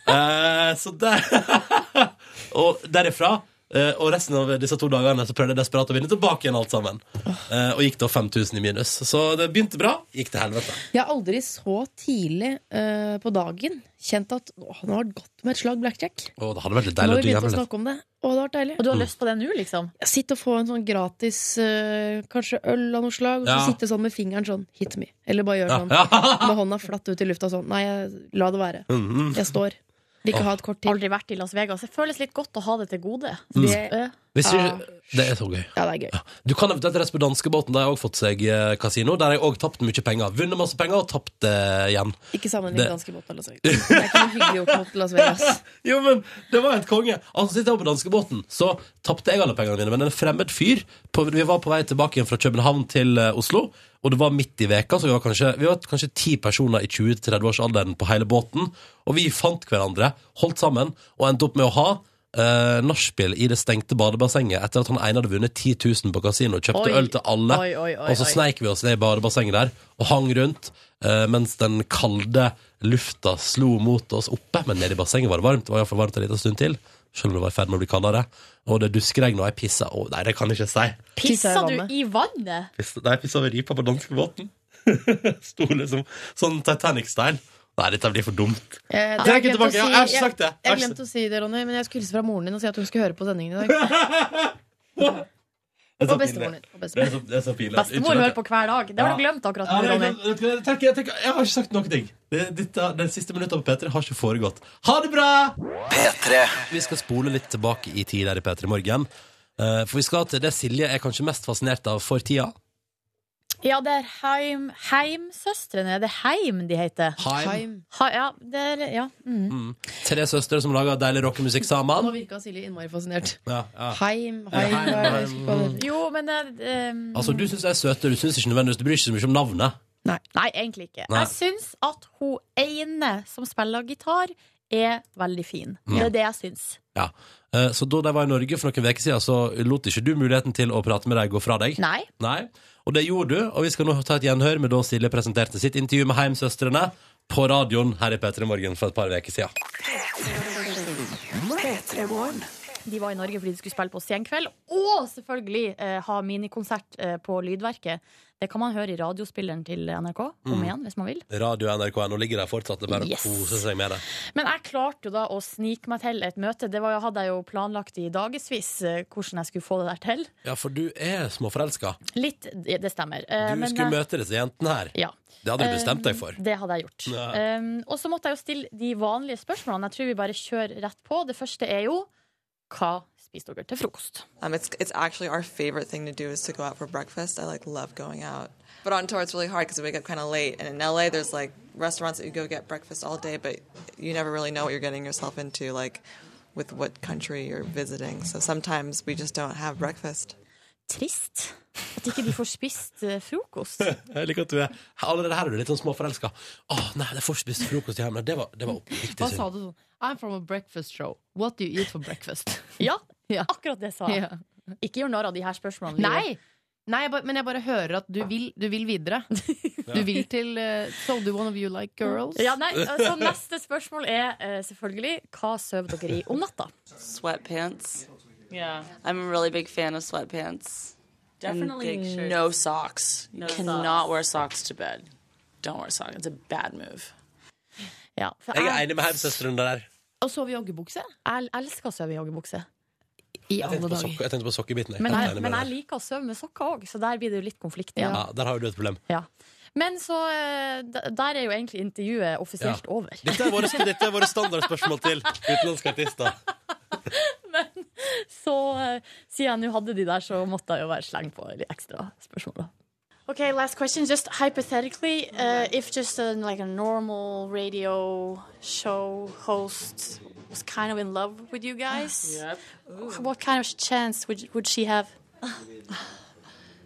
Eh, så der Og derifra eh, og resten av disse to dagene Så prøvde jeg desperat å vinne tilbake igjen alt sammen. Eh, og gikk da 5000 i minus. Så det begynte bra, gikk til helvete.
Jeg har aldri så tidlig eh, på dagen kjent at åh, nå har det gått med et slag blackjack.
Og det hadde vært litt
Nå
deilig
har
å
vi begynt å
gjemme litt.
snakke om det, og det har vært deilig.
Og du har Mm. lyst
på det nå, liksom? Sitte og få en sånn gratis eh, kanskje øl av noe slag, og så
Ja.
sitte sånn med fingeren sånn hit me. Eller bare gjøre
Ja.
sånn
Ja.
med hånda flatt ut i lufta sånn. Nei, jeg- la det være.
Mhm.
Jeg står. Vil ikke ha et kort til.
Aldri vært i Las Vegas.
Altså,
Det føles litt godt å ha det til gode.
Mm.
Eh,
Hvis du, det er så gøy.
Ja, det er gøy.
Du kan eventuelt reise på danskebåten. Der har jeg også fått seg eh, kasino. Der har jeg òg tapt mye penger. Vunnet masse penger og tapt eh, igjen.
Ikke sammenlign
Det-
danskebåten med Las Vegas. Det er ikke noe hyggelig gjort mot Las Vegas.
jo, men det var helt konge. Altså, Sist jeg var på danskebåten, så tapte jeg alle pengene mine. Men en fremmed fyr på, Vi var på vei tilbake igjen fra København til eh, Oslo, og det var midt i veka, så vi var kanskje Vi var kanskje ti personer i 20-30-årsalderen på hele båten. Og vi fant hverandre, holdt sammen, og endte opp med å ha Uh, nachspiel i det stengte badebassenget etter at han ene hadde vunnet 10 000 på kasino. Kjøpte
Oi.
øl til alle.
Oi, oi, oi,
og så
oi.
sneik vi oss ned i badebassenget der og hang rundt eh, mens den kalde lufta slo mot oss oppe. Men nede i bassenget var det varmt. Det var i hvert fall varmt en liten stund til. Selv om det var i ferd med å bli kaldere. Og det duskregn, og jeg pissa Å, nei, det kan jeg ikke si.
Pissa du i vannet?
Pissa- Nei, jeg pissa over ripa på danskebåten. Sto liksom sånn Titanic-style. Nei, dette blir for dumt.
Eh, det
Trekk
jeg
det
glemt å
tilbake, ja, jeg har ikke
si-
sagt det.
Jeg
Jeg har
har
ikke
glemt å si det, Ronny, men jeg skulle hilse fra moren din og si at hun skulle høre på sendingen i dag.
Det er så
Og
pinlig.
bestemoren din, og
Det
bestemoren.
er så- det er så pinlig.
Bestemor
Unnskyld at
hører
jeg-
på hver dag. Det har du
Ja.
glemt akkurat
Ja,
nå,
det
Ronny.
er- vet du hva, jeg tenker- jeg tenker- Jeg har ikke sagt noen ting. Det, dette, den siste minuttet på P3 har ikke foregått. Ha det bra! Vi skal spole litt tilbake i tid her i P3 Morgen. Eh, For vi skal til det Silje er kanskje mest fascinert av for tida.
Ja, det er Heim, Heimsøstrene. Det er Heim de heter.
Heim. Heim.
Ha, ja, det er, ja. Mm.
Mm. Tre søstre som lager deilig rockemusikk sammen.
Nå virka Silje innmari fascinert.
Ja, ja.
Heim,
Ja, heim,
heim, hva er det?
heim.
Jo, men eh, um,
Altså, Du syns de er søte, du syns ikke nødvendigvis Du bryr deg ikke så mye om navnet.
Nei, egentlig ikke.
Nei.
Jeg syns at hun ene som spiller gitar, er veldig fin.
Mm.
Det er det jeg syns.
Ja. Eh, Så da de var i Norge for noen uker siden, så lot ikke du muligheten til å prate med deg gå fra deg.
Nei.
Og det gjorde du, og vi skal nå ta et gjenhør med da Silje presenterte sitt intervju med Heimsøstrene på radioen her i P3 Morgen for et par uker siden.
De var i Norge fordi de skulle spille på Senkveld. Og selvfølgelig eh, ha minikonsert eh, på Lydverket. Det kan man høre i radiospilleren til NRK om
Mm.
igjen, hvis man vil.
Radio NRK nå ligger der fortsatt, det er bare å
Yes.
kose seg med det.
Men jeg klarte jo da å snike meg til et møte. Det var, jo- hadde jeg jo planlagt i dagevis eh, hvordan jeg skulle få det der til.
Ja, for du er småforelska.
Litt, det det stemmer.
Du
Eh, men,
skulle
eh,
møte disse jentene her.
Ja.
Det hadde du bestemt deg for.
Eh, Det hadde jeg gjort.
Ja.
Eh, og så måtte jeg jo stille de vanlige spørsmålene. Jeg tror vi bare kjører rett på. Det første er jo hva spiste dere til frokost?
Um, it's it's actually our favorite thing to do is to go out for breakfast. I like love going out, but on tour it's really hard because we wake up kind of late. And in LA, there's like restaurants that you go get breakfast all day, but you never really know what you're getting yourself into, like with what country you're visiting. So sometimes we just don't have breakfast.
Trist at ikke de får spist eh, frokost.
Jeg liker at du er Allerede her er du litt sånn småforelska. Å nei, det får ikke spist frokost hjemme. Det var, det var oppriktig
Hva sa
synd.
du sånn? I'm from a breakfast show. What do you eat for breakfast?
Ja, akkurat det sa jeg.
Ja.
Ikke gjør narr av de her spørsmålene.
Nei!
Livet.
Nei, jeg bare- men jeg bare hører at du vil, du vil videre. Du vil til eh, So do one of you like girls?
Ja, nei, altså, neste spørsmål er eh, selvfølgelig hva sover dere i om natta?
Sweatpants. Yeah. I'm a really big fan of sweatpants. And
Definitely
big
shirts.
no socks. You
No
cannot
socks.
wear socks to bed. Don't wear socks. It's a bad move.
Ja, for
Jeg er enig med hemsøstrene der.
Og sove i joggebukse?
Jeg elsker å sove i joggebukse. I
Jeg tenkte på, sokke, jeg tenkte på sokkebiten. Jeg.
Men
Jeg er
jeg,
enig med
men jeg
deg.
liker å sove med sokker òg, så der blir det jo litt konflikt.
ja. Der har jo du et problem.
Ja. Men så eh, d- Der er jo egentlig intervjuet offisielt
Ja.
over.
Dette er våre, dette er våre standardspørsmål til utenlandske artister.
Så eh, siden jeg nå hadde de der, så måtte jeg jo være sleng på litt ekstra spørsmål. da.
Okay, last question. Just hypothetically, uh, if just a, like a normal radio show host was kind of in love with you guys,
Yep.
wh- what kind of chance would would she have?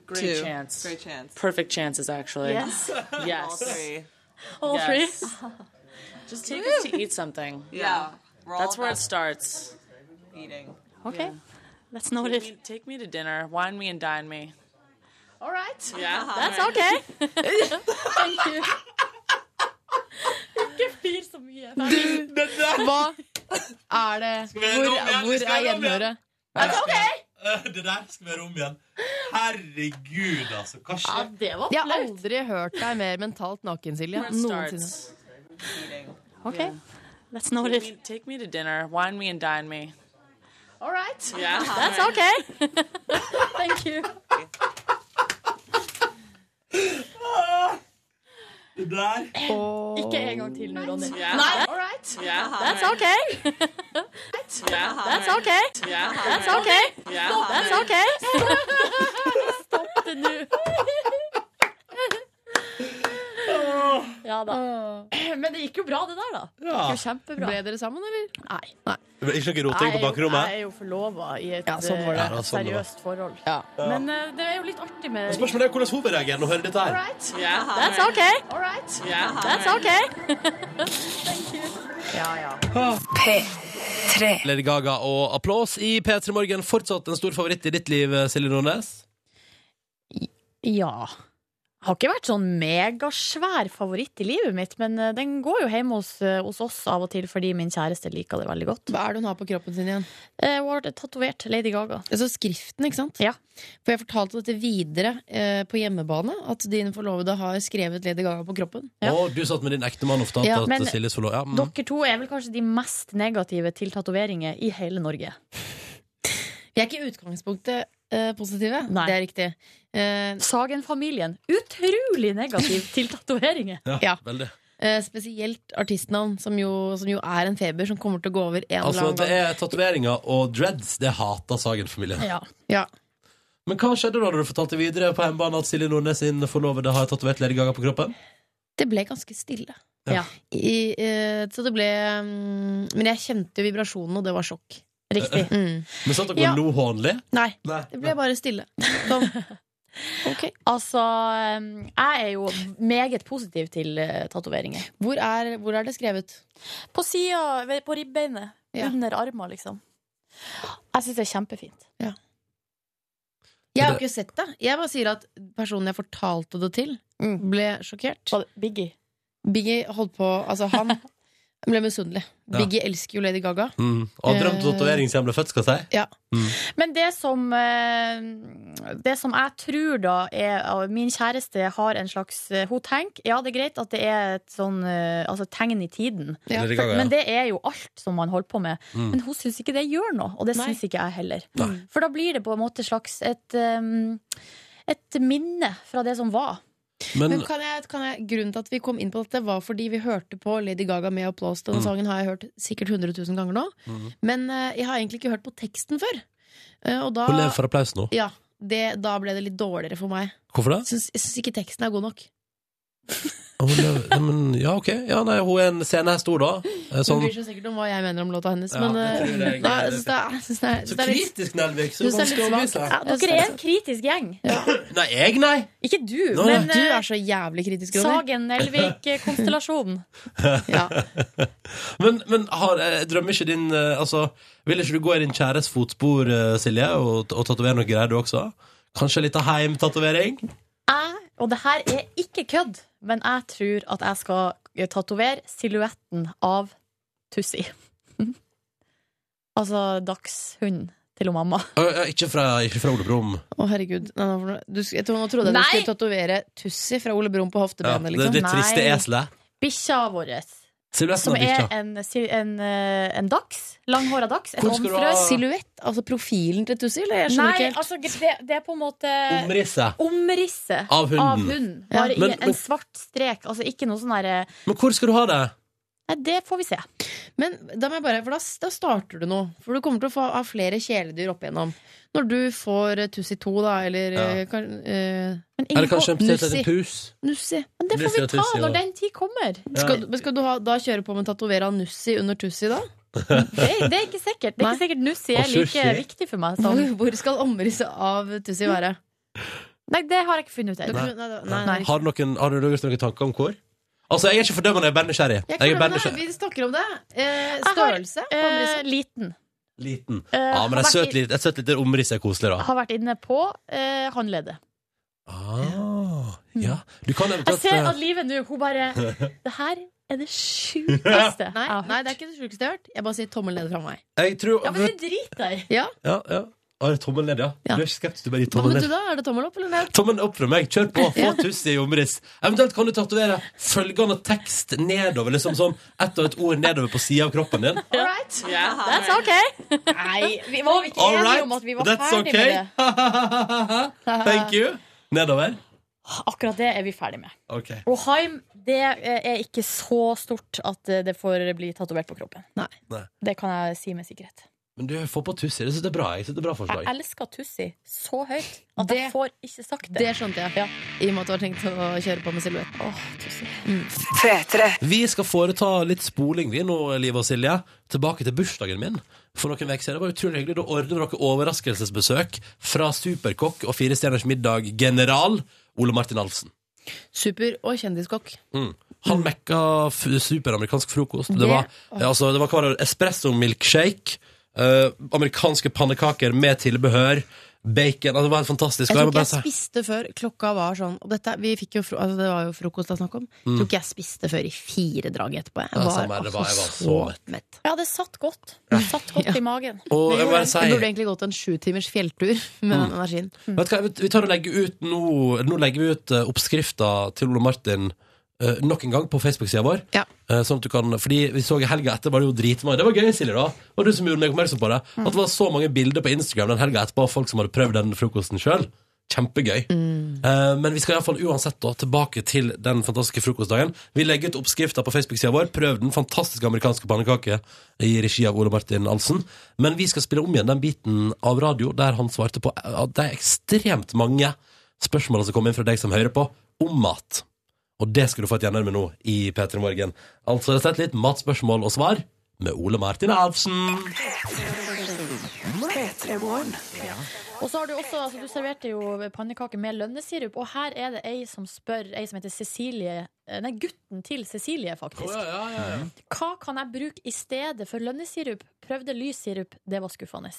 Great
Two.
chance.
Great chance.
Perfect chances, actually.
Yes.
yes.
All three.
All
Yes.
three.
Just take us to eat something.
Yeah. We're all
That's where it
about
starts.
Eating.
Okay.
That's
not
noted.
take Me, take me to dinner. Wine me and dine me.
All right.
Yeah.
That's
All right.
okay. Thank you.
Ikke fir så mye.
Hva er det?
vi gjøre det om igjen?
Hvor, hvor
Skal vi gjøre det
er
om igjen?
gjenhøret?
Eh, Det der skal være om igjen. Herregud, altså. Hva skjer?
Jeg har aldri hørt deg mer mentalt naken, Silje.
Where it
Noensinne.
starts.
Okay. That's
Take
noted.
me, take me to dinner. Wine me and dine me.
All right.
Yeah.
That's okay. Thank you.
Det der
Ikke en gang til nå, Ronny.
Yeah.
Nei.
All right.
Uh-huh.
Yeah.
That's
All right.
okay.
Yeah.
That's
All
okay.
right. Yeah.
That's
All
okay.
right. Yeah. All
That's
right.
okay. Stopp det nå. Ja da. Men det gikk jo bra, det der, da. Det
Ja.
gikk jo kjempebra.
Ble dere sammen, eller?
Nei.
Det ble Ikke noe roting på bakrommet?
Jeg er jo forlova i et
Ja, sånn var det.
eh,
Ja, sånn det var.
seriøst forhold.
Ja.
Men eh, det er jo litt artig med
Spørsmålet er hvordan hun reagerer når hun hører dette her.
Yeah.
That's
All right.
okay.
All right. Yeah.
That's
All right.
okay. Thank you. Ja, ja.
P3.
Lady Gaga og applaus i P3 Morgen. Fortsatt en stor favoritt i ditt liv, Silje Nordnes.
Ja. Har ikke vært sånn megasvær favoritt i livet mitt, men eh, den går jo hjemme hos, eh, hos oss av og til fordi min kjæreste liker det veldig godt.
Hva er det hun har på kroppen sin igjen?
Eh, Hun har tatovert Lady Gaga.
Altså skriften, ikke sant? For jeg fortalte dette videre eh, på hjemmebane, at din forlovede har skrevet Lady Gaga på kroppen.
Og du satt med din ektemann og fortalte
Ja, men-
at Silje Solo ja, mm.
Dere to er vel kanskje de mest negative til tatoveringer i hele Norge.
Vi er ikke i utgangspunktet eh, positive, det er riktig. Eh,
Sagen-familien, utrolig negativ til tatoveringer.
Ja,
Ja.
veldig.
Eh, spesielt artistnavn, som jo, som jo er en feber som kommer til å gå over en
Altså, det
eller annen gang.
er tatoveringer og dreads. Det hater Sagen-familien.
Ja. Ja.
Men hva skjedde da når du fortalte videre på hjemmebane at Silje Nordnes sin forlovede har tatovert Lady Gaga på kroppen?
Det ble ganske stille.
Ja.
I, eh, så det ble mm, Men jeg kjente jo vibrasjonen, og det var sjokk.
Riktig.
Mm.
Men satt dere
Ja.
og lo hånlig?
Nei.
Nei.
Det ble bare stille.
Sånn. Altså, eh, jeg er jo meget positiv til eh, tatoveringer.
Hvor er, hvor er det skrevet?
På sida, ved- på ribbeinet. Under armen, liksom.
Jeg syns det er kjempefint.
Jeg har jo ikke sett det. Jeg bare sier at personen jeg fortalte det til, ble sjokkert.
Mm. Biggie?
holdt på Altså, han ble misunnelig.
Ja.
Biggie elsker jo Lady Gaga.
Mm. Og drømte
Eh.
tatovering siden han ble født, skal jeg si?
Ja.
Mm.
Men det som, eh, det som jeg tror da er at Min kjæreste har en slags eh, Hun tenker ja, det er greit at det er et sånn eh, altså, tegn i tiden,
Ja. Lady Gaga, ja.
men det er jo alt som man holder på med.
Mm.
Men hun syns ikke det gjør noe, og det
Nei. Mm.
syns ikke jeg heller.
Nei.
For da blir det på en måte slags et, eh, et minne fra det som var.
Men,
Men
kan jeg, kan jeg, grunnen til at vi kom inn på dette, var fordi vi hørte på Lady Gaga med applaus. Denne
Mm.
sangen har jeg hørt sikkert 100 000 ganger nå.
Mhm.
Men eh, jeg har egentlig ikke hørt på teksten før. Eh, og da,
Hun lever for applaus nå.
ja, det, da ble det litt dårligere for meg.
Hvorfor det?
Syns, jeg syns ikke teksten er god nok.
Hun lever, Nei, men, ja, ok. Ja, nei, hun er en scenehest, hun, da. Eh,
Hun
Sånn.
bryr seg sikkert om hva jeg mener om låta hennes,
Ja,
men
det tror jeg
eh,
det er
nei,
greit.
jeg syns det er- jeg syns det er- jeg syns
Så
det er litt-
kritisk, Nelvik. Så
jeg syns det
vanskelig å
er litt
bry
svakt.
seg.
Ja,
Dere er en kritisk gjeng.
Nei, jeg, nei!
Ikke du,
Nå,
men
nei.
Du
eh,
er så jævlig kritisk, Ronny.
Sagen, Nelvik-konstellasjonen.
men men har, eh, drømmer ikke din eh, altså, Vil ikke du gå i din kjæres fotspor, eh, Silje, og, og tatovere noe greier, du også? Kanskje litt av heimtatovering?
Jeg, og det her er ikke kødd, men jeg tror at jeg skal eh, tatovere silhuetten av Tussi. altså dagshunden til hun mamma.
Øh, øh, Ikke fra, ikke fra Ole Brumm.
Å, herregud. Nei, nå, får du- du, jeg tror, nå trodde jeg du
Nei!
skulle tatovere Tussi fra Ole Brumm på
Ja,
hoftebenet.
det
liksom.
det triste eselet.
Bikkja vår. eh,
Silhuetten
Som
av bikkja.
er en, sil- en, eh, en daks. Langhåra daks. En
Hvor skal du ha-
omfrøs.
Silhuett? Altså profilen til Tussi? Eller? Jeg skjønner
Nei,
ikke helt.
altså det, det er på en måte
Eh, Omrisset.
Eh, Omrisset
Av hunden. Ja.
Bare
Men-
i
men-
en svart strek. Altså ikke noe sånn derre
Men hvor skal du ha det?
Nei, det får vi se.
Men da må jeg bare, for da, da starter du nå. For du kommer til å få, ha flere kjæledyr opp igjennom. Når du får eh, Tussi 2, da, eller
Ja.
eh, kan, eh,
Eller kanskje en potet etter pus?
Nussi.
Men
det får Nussi vi og ta Tussi, når da.
den
tid kommer.
Ja.
Skal, du- men skal du ha, da kjøre på med å tatovere av Nussi under Tussi, da?
Det, det er ikke sikkert. Det er ikke sikkert Nussi er
Og
like
sushi.
viktig for meg.
Hvor,
Som.
hvor skal omrisset av Tussi være?
Nei, det har jeg ikke funnet ut ennå.
Nei. Nei, nei, nei.
Har, du noen, har du gjort noen tanker om hvor? Altså, Jeg er ikke fordømmende, jeg er bare nysgjerrig.
Jeg
Jeg er bare
klemmer deg,
nysgjerrig.
vi snakker om det. Eh,
har,
størrelse? på
Eh,
omrisset.
liten.
Liten. Ja,
Eh,
men
har
et
vært
søt, lite- et søtt lite omriss er koselig, da.
Har vært inne på eh, håndleddet.
Ah, ja. Du kan
Jeg
eventuelt
ser
eh,
at livet nå, hun bare Det her er det sjukeste
Nei, nei, det er ikke det sjukeste jeg har hørt. Jeg bare sier tommel ned fra meg.
Jeg tror
Ja, men det driter jeg i.
Ja.
Ja, ja. Ah, det er tommel ned, ja. Du er ikke skeptisk, du bare gir
Hva
tommel
med
ned.
du, da? Er det tommel opp eller ned?
Tommelen opp fra meg. Kjør på. Få tusen i omriss. Eventuelt kan du tatovere følgende tekst nedover. Liksom sånn ett og et ord nedover på sida av kroppen din.
All right.
That's okay. Nei, vi var ikke
All
enige
right.
om at vi var
That's
ferdig
okay.
med det.
Thank you. Nedover.
Akkurat det er vi ferdig med.
OK.
Og Haim, det eh, er ikke så stort at eh, det får bli tatovert på kroppen. Nei.
Nei.
Det kan jeg si med sikkerhet.
Men du, få på tussi. Det synes jeg er bra. Jeg synes det er bra
Jeg
forslag.
elsker Tussi så høyt at jeg får ikke sagt det.
Det skjønte jeg. I og med at du har tenkt å kjøre på med silhuett.
Vi skal foreta litt spoling, vi nå, Liv og Silje. Tilbake til bursdagen min for noen uker siden. Det var utrolig hyggelig. Da ordner dere overraskelsesbesøk fra superkokk og Fire stjerners middag-general Ole Martin Alfsen.
Super- og kjendiskokk.
Mm. Han mekka f superamerikansk frokost. Det
Det-
var, ja, altså, det var hva var det? espresso milkshake, eh, amerikanske pannekaker med tilbehør, bacon altså, Det var helt fantastisk.
Jeg
Og
tror
jeg må
ikke
bare
jeg
si-
spiste før klokka var sånn og dette, vi fikk jo, fro- altså Det var jo frokost det er snakk om. Jeg tror ikke jeg spiste før i fire drag etterpå. Jeg
Mm. Ja,
var,
samme her, det var- jeg
altså
var
så
så mett.
mett.
Ja, det satt godt. Det satt godt i magen.
Og jeg må bare si-
Jeg burde egentlig gått en sju timers fjelltur med
Mm.
den energien.
Vet du hva, vi tar og legger ut nå, nå legger vi ut eh, oppskrifta til Ole Martin eh, nok en gang på Facebook-sida vår. Eh, sånn at du kan, fordi vi så i helga etter var det jo dritmange. Det var gøy, Silje. da Det var du som gjorde meg oppmerksom på det. At det var så mange bilder på Instagram den helga etterpå av folk som hadde prøvd den frokosten sjøl. Kjempegøy. Eh, men vi skal i alle fall uansett da tilbake til den fantastiske frokostdagen. Vi legger ut oppskrifta på Facebook-sida vår. Prøv den fantastiske amerikanske pannekake i regi av Ole Martin Alsen. Men vi skal spille om igjen den biten av radio der han svarte på eh, at det er ekstremt mange spørsmål som kom inn fra deg som hører på, om mat. Og det skal du få et gjennom med nå i P3 Morgen. Altså rett og slett litt matspørsmål og svar med Ole Martin Alsen.
Og så har du også, altså du serverte jo pannekaker med lønnesirup, og her er det ei som spør, ei som heter Cecilie eh, Nei, gutten til Cecilie, faktisk. Hva kan jeg bruke i stedet for lønnesirup? Prøvde lyssirup, det var skuffende.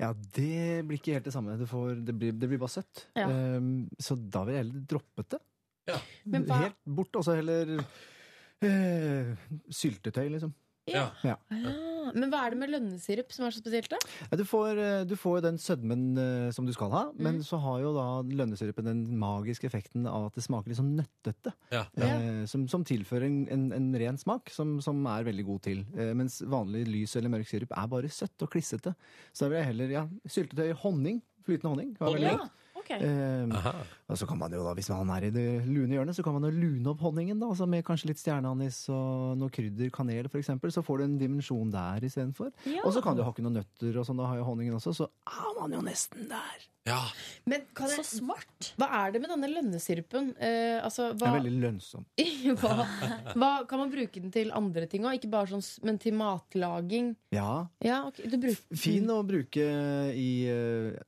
Ja, det blir ikke helt det samme. Det, får, det, blir, det blir bare søtt.
Ja.
Ehm, så da vil jeg heller droppet det.
Men hva-
Helt bort, og så heller eh, syltetøy, liksom.
Ja.
Ja.
Ah, men hva er det med lønnesirup som er så spesielt, da?
Ja, Du får, eh, du får jo den sødmen eh, som du skal ha, men så har jo da lønnesirupen den magiske effekten av at det smaker litt sånn nøttete.
Ja.
Eh, som, som tilfører en, en, en ren smak, som, som er veldig god til. Eh, mens vanlig lys eller mørk sirup er bare søtt og klissete. Så da vil jeg heller ja, syltetøy, honning, flytende honning. var veldig
Ja,
godt.
ok.
Ehm,
Eh, og så kan man jo da, Hvis man er i det lune hjørnet, så kan man jo lune opp honningen. da, altså Med kanskje litt stjerneanis og noe krydder, kanel f.eks. Så får du en dimensjon der istedenfor.
Ja.
Og så kan du hakke noen nøtter, og sånn, da har jo honningen også. Så er man jo nesten der.
Men kan jeg,
så smart!
Hva er det med denne lønnesirupen? Eh, altså,
Det
hva,
er veldig lønnsomt.
hva, hva Kan man bruke den til andre ting òg? Ikke bare sånn, s- men til matlaging?
Ja.
Ja, ok, du bruker
Fin å bruke i eh,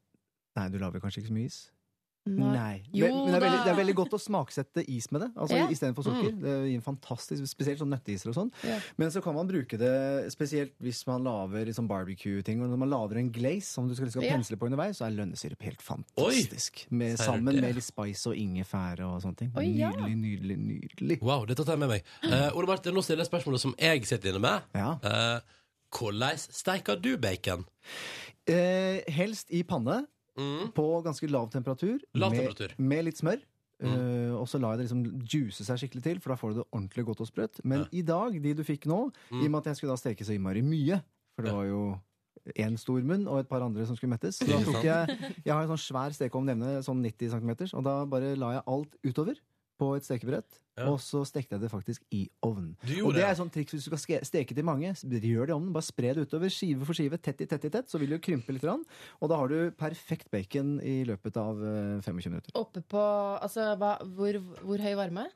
Nei, du lager kanskje ikke så mye is? Nei.
Jo
Vel- Men det er, veldig,
da.
det er veldig godt å smaksette is med det. Altså
Ja.
Istedenfor sukker.
Mm.
Det gir en fantastisk, Spesielt sånn nøtteiser og sånn.
Ja.
Men så kan man bruke det spesielt hvis man lager liksom barbecue-ting. Og når man lager en glaze som du skal, skal
Ja.
pensle på underveis, så er lønnesyrup helt fantastisk. Med,
Ser
sammen
det.
med litt spice og ingefære og sånne ting.
Oi, ja.
Nydelig, nydelig, nydelig.
Wow, dette tar jeg med meg. Eh, Ole Martin, nå stiller jeg spørsmålet som jeg sitter inne med. Eh, hvordan steiker du bacon?
Eh, helst i panne, på ganske lav temperatur.
Mm. Lav
med,
temperatur. Mm.
Med litt smør. Eh, og så lar jeg det liksom juice seg skikkelig til, for da får du det ordentlig godt og sprøtt. Men i dag, de du fikk nå,
Mm.
i og med at jeg skulle da steke så innmari mye, for det var jo én stor munn og et par andre som skulle mettes. Så da
Ikke
tok
sant?
jeg, jeg har en sånn svær stekeovn nevne, sånn 90 cm, og da bare la jeg alt utover på et stekebrett. Og så stekte jeg det faktisk i ovnen.
gjorde
Og det er
det,
et sånt triks hvis du skal ske- steke til mange. s- Gjør det i ovnen, bare spre det utover skive for skive, tett i tett i tett, så vil det jo krympe litt. grann, Og da har du perfekt bacon i løpet av eh, 25 minutter.
Oppe på altså, hva, hvor, hvor høy varme?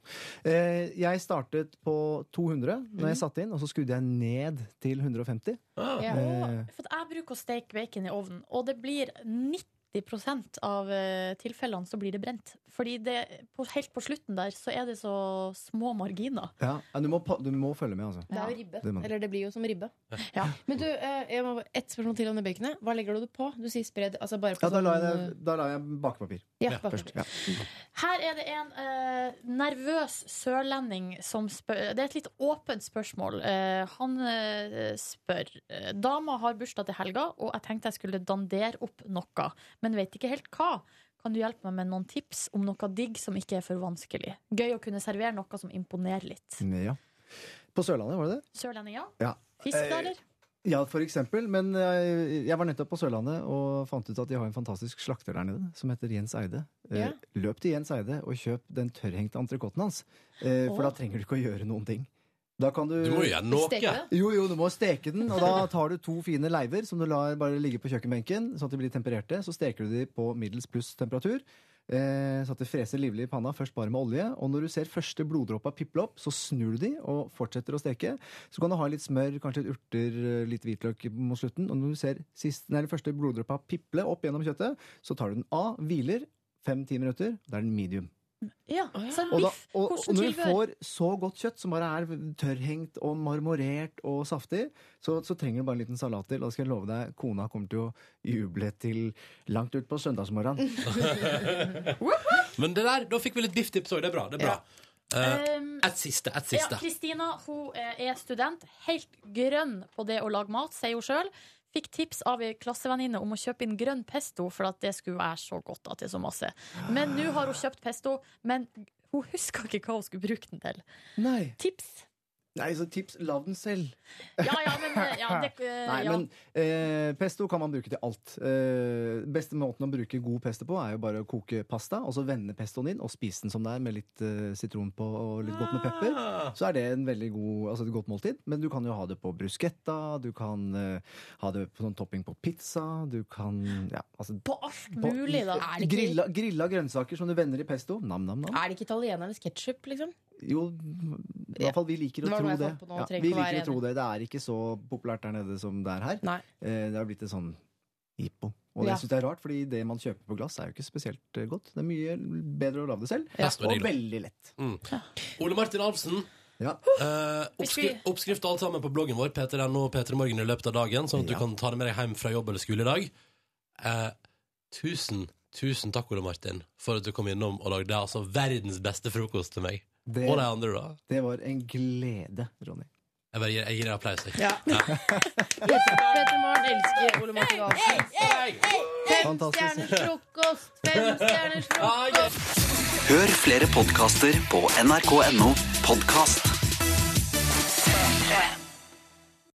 Eh, Jeg startet på 200 når
Mhm.
jeg satte inn, og så skrudde jeg ned til 150.
Ja,
Eh,
For at jeg bruker å steke bacon i ovnen, og det blir 90 av eh, tilfellene så blir det brent. Fordi det, på, helt på slutten der så er det så små marginer.
Ja, ja, du, må, pa- du må følge med, altså.
Det er jo ribbe.
Det må du.
Eller det blir jo som ribbe.
Ja.
Men du, eh, jeg må, et spørsmål til om det baconet. Hva legger du det på? Du sier spred altså bare på
Ja, da la jeg,
sånn,
da la jeg bakepapir.
Ja, bakepapir.
Ja.
Her er det en eh, nervøs sørlending som spør Det er et litt åpent spørsmål. Eh, han eh, spør eh, Dama har bursdag til helga, og jeg tenkte jeg skulle dandere opp noe, men vet ikke helt hva. Kan du hjelpe meg med noen tips om noe digg som ikke er for vanskelig? Gøy å kunne servere noe som imponerer litt.
Ja. På Sørlandet, var det det?
Sørlending, ja?
Ja. Eh,
Fisk, da, eller?
Ja, for eksempel. Men eh, jeg var nettopp på Sørlandet og fant ut at de har en fantastisk slakter der nede som heter Jens Eide. Eh,
Ja.
Løp til Jens Eide og kjøp den tørrhengte entrecôten hans. eh, For da
Åh.
trenger du ikke å gjøre noen ting. Da kan du,
Du må gjøre noe. Steke
Jo, jo, du må steke den. Og da tar du to fine leiver som du lar bare ligge på kjøkkenbenken, sånn at de blir tempererte. Så steker du de på middels pluss temperatur. Eh, så at det freser livlig i panna, først bare med olje. Og når du ser første bloddråpa piple opp, så snur du de og fortsetter å steke. Så kan du ha litt smør, kanskje litt urter, eh, litt hvitløk mot slutten. Og når du ser sist, nei, den første bloddråpa piple opp gjennom kjøttet, så tar du den av, hviler fem-ti minutter. Da er den medium.
Ja. Så en
Og, da,
biff.
og, og
Hvordan
når du
tilbør?
får så godt kjøtt som bare er tørrhengt og marmorert og saftig, så, så trenger du bare en liten salat til. Og da skal jeg love deg, kona kommer til å juble til langt utpå søndagsmorgenen.
Men det der, da fikk vi litt bifftips òg. Det er bra. det er bra. Eh,
Um,
et siste. Et siste.
Ja, Kristina hun eh, er student, helt grønn på det å lage mat, sier hun sjøl. Fikk tips av ei klassevenninne om å kjøpe inn grønn pesto, for at det skulle være så godt at det er så masse. Men nå har hun kjøpt pesto, men hun huska ikke hva hun skulle bruke den til.
Nei.
Tips.
Nei, så tips, lag den selv.
Ja, ja, men eh, ja, det, eh,
Nei,
ja.
men eh, pesto kan man bruke til alt. Eh, beste måten å bruke god pesto på, er jo bare å koke pasta, og så vende pestoen inn og spise den som det er, med litt eh, sitron på og litt godt med pepper. Så er det en veldig god, altså et godt måltid. Men du kan jo ha det på bruschetta, du kan eh, ha det på sånn topping på pizza, du kan ja, altså,
På alt mulig, da. Er det ikke-
Grilla, grilla grønnsaker som du vender i pesto. Nam, nam, nam.
Er det ikke italienernes ketsjup, liksom?
Jo, i hvert fall vi liker å
Det var
tro
noe jeg
det.
fant på nå,
Ja,
trenger
vi
ikke å
liker
være
å tro
enig.
det. Det er ikke så populært der nede som det er her.
Nei.
Eh, Det har blitt et sånn jippo. Og det
Ja.
synes jeg er rart, fordi det man kjøper på glass, er jo ikke spesielt eh, godt. Det er mye bedre å lage det selv,
Ja. Pesto er
og
digg, da.
veldig lett.
Mm. Ole Martin Alfsen. Eh, oppskri oppskrift og alt sammen på bloggen vår P3NO og P3morgen i løpet av dagen, sånn at du kan ta det med deg hjem fra jobb eller skole i dag. Eh, tusen, tusen takk, Ole Martin, for at du kom innom og lagde altså verdens beste frokost til meg.
Det-
Og de andre, da.
Det var en glede, Ronny.
Jeg bare gir, jeg gir deg applaus. jeg.
Ja. Petter Morn elsker Ole Martin Ahlsen. Fem
Fantastisk.
stjerners frokost! Fem stjerners frokost!
Hør flere podkaster på nrk.no podkast.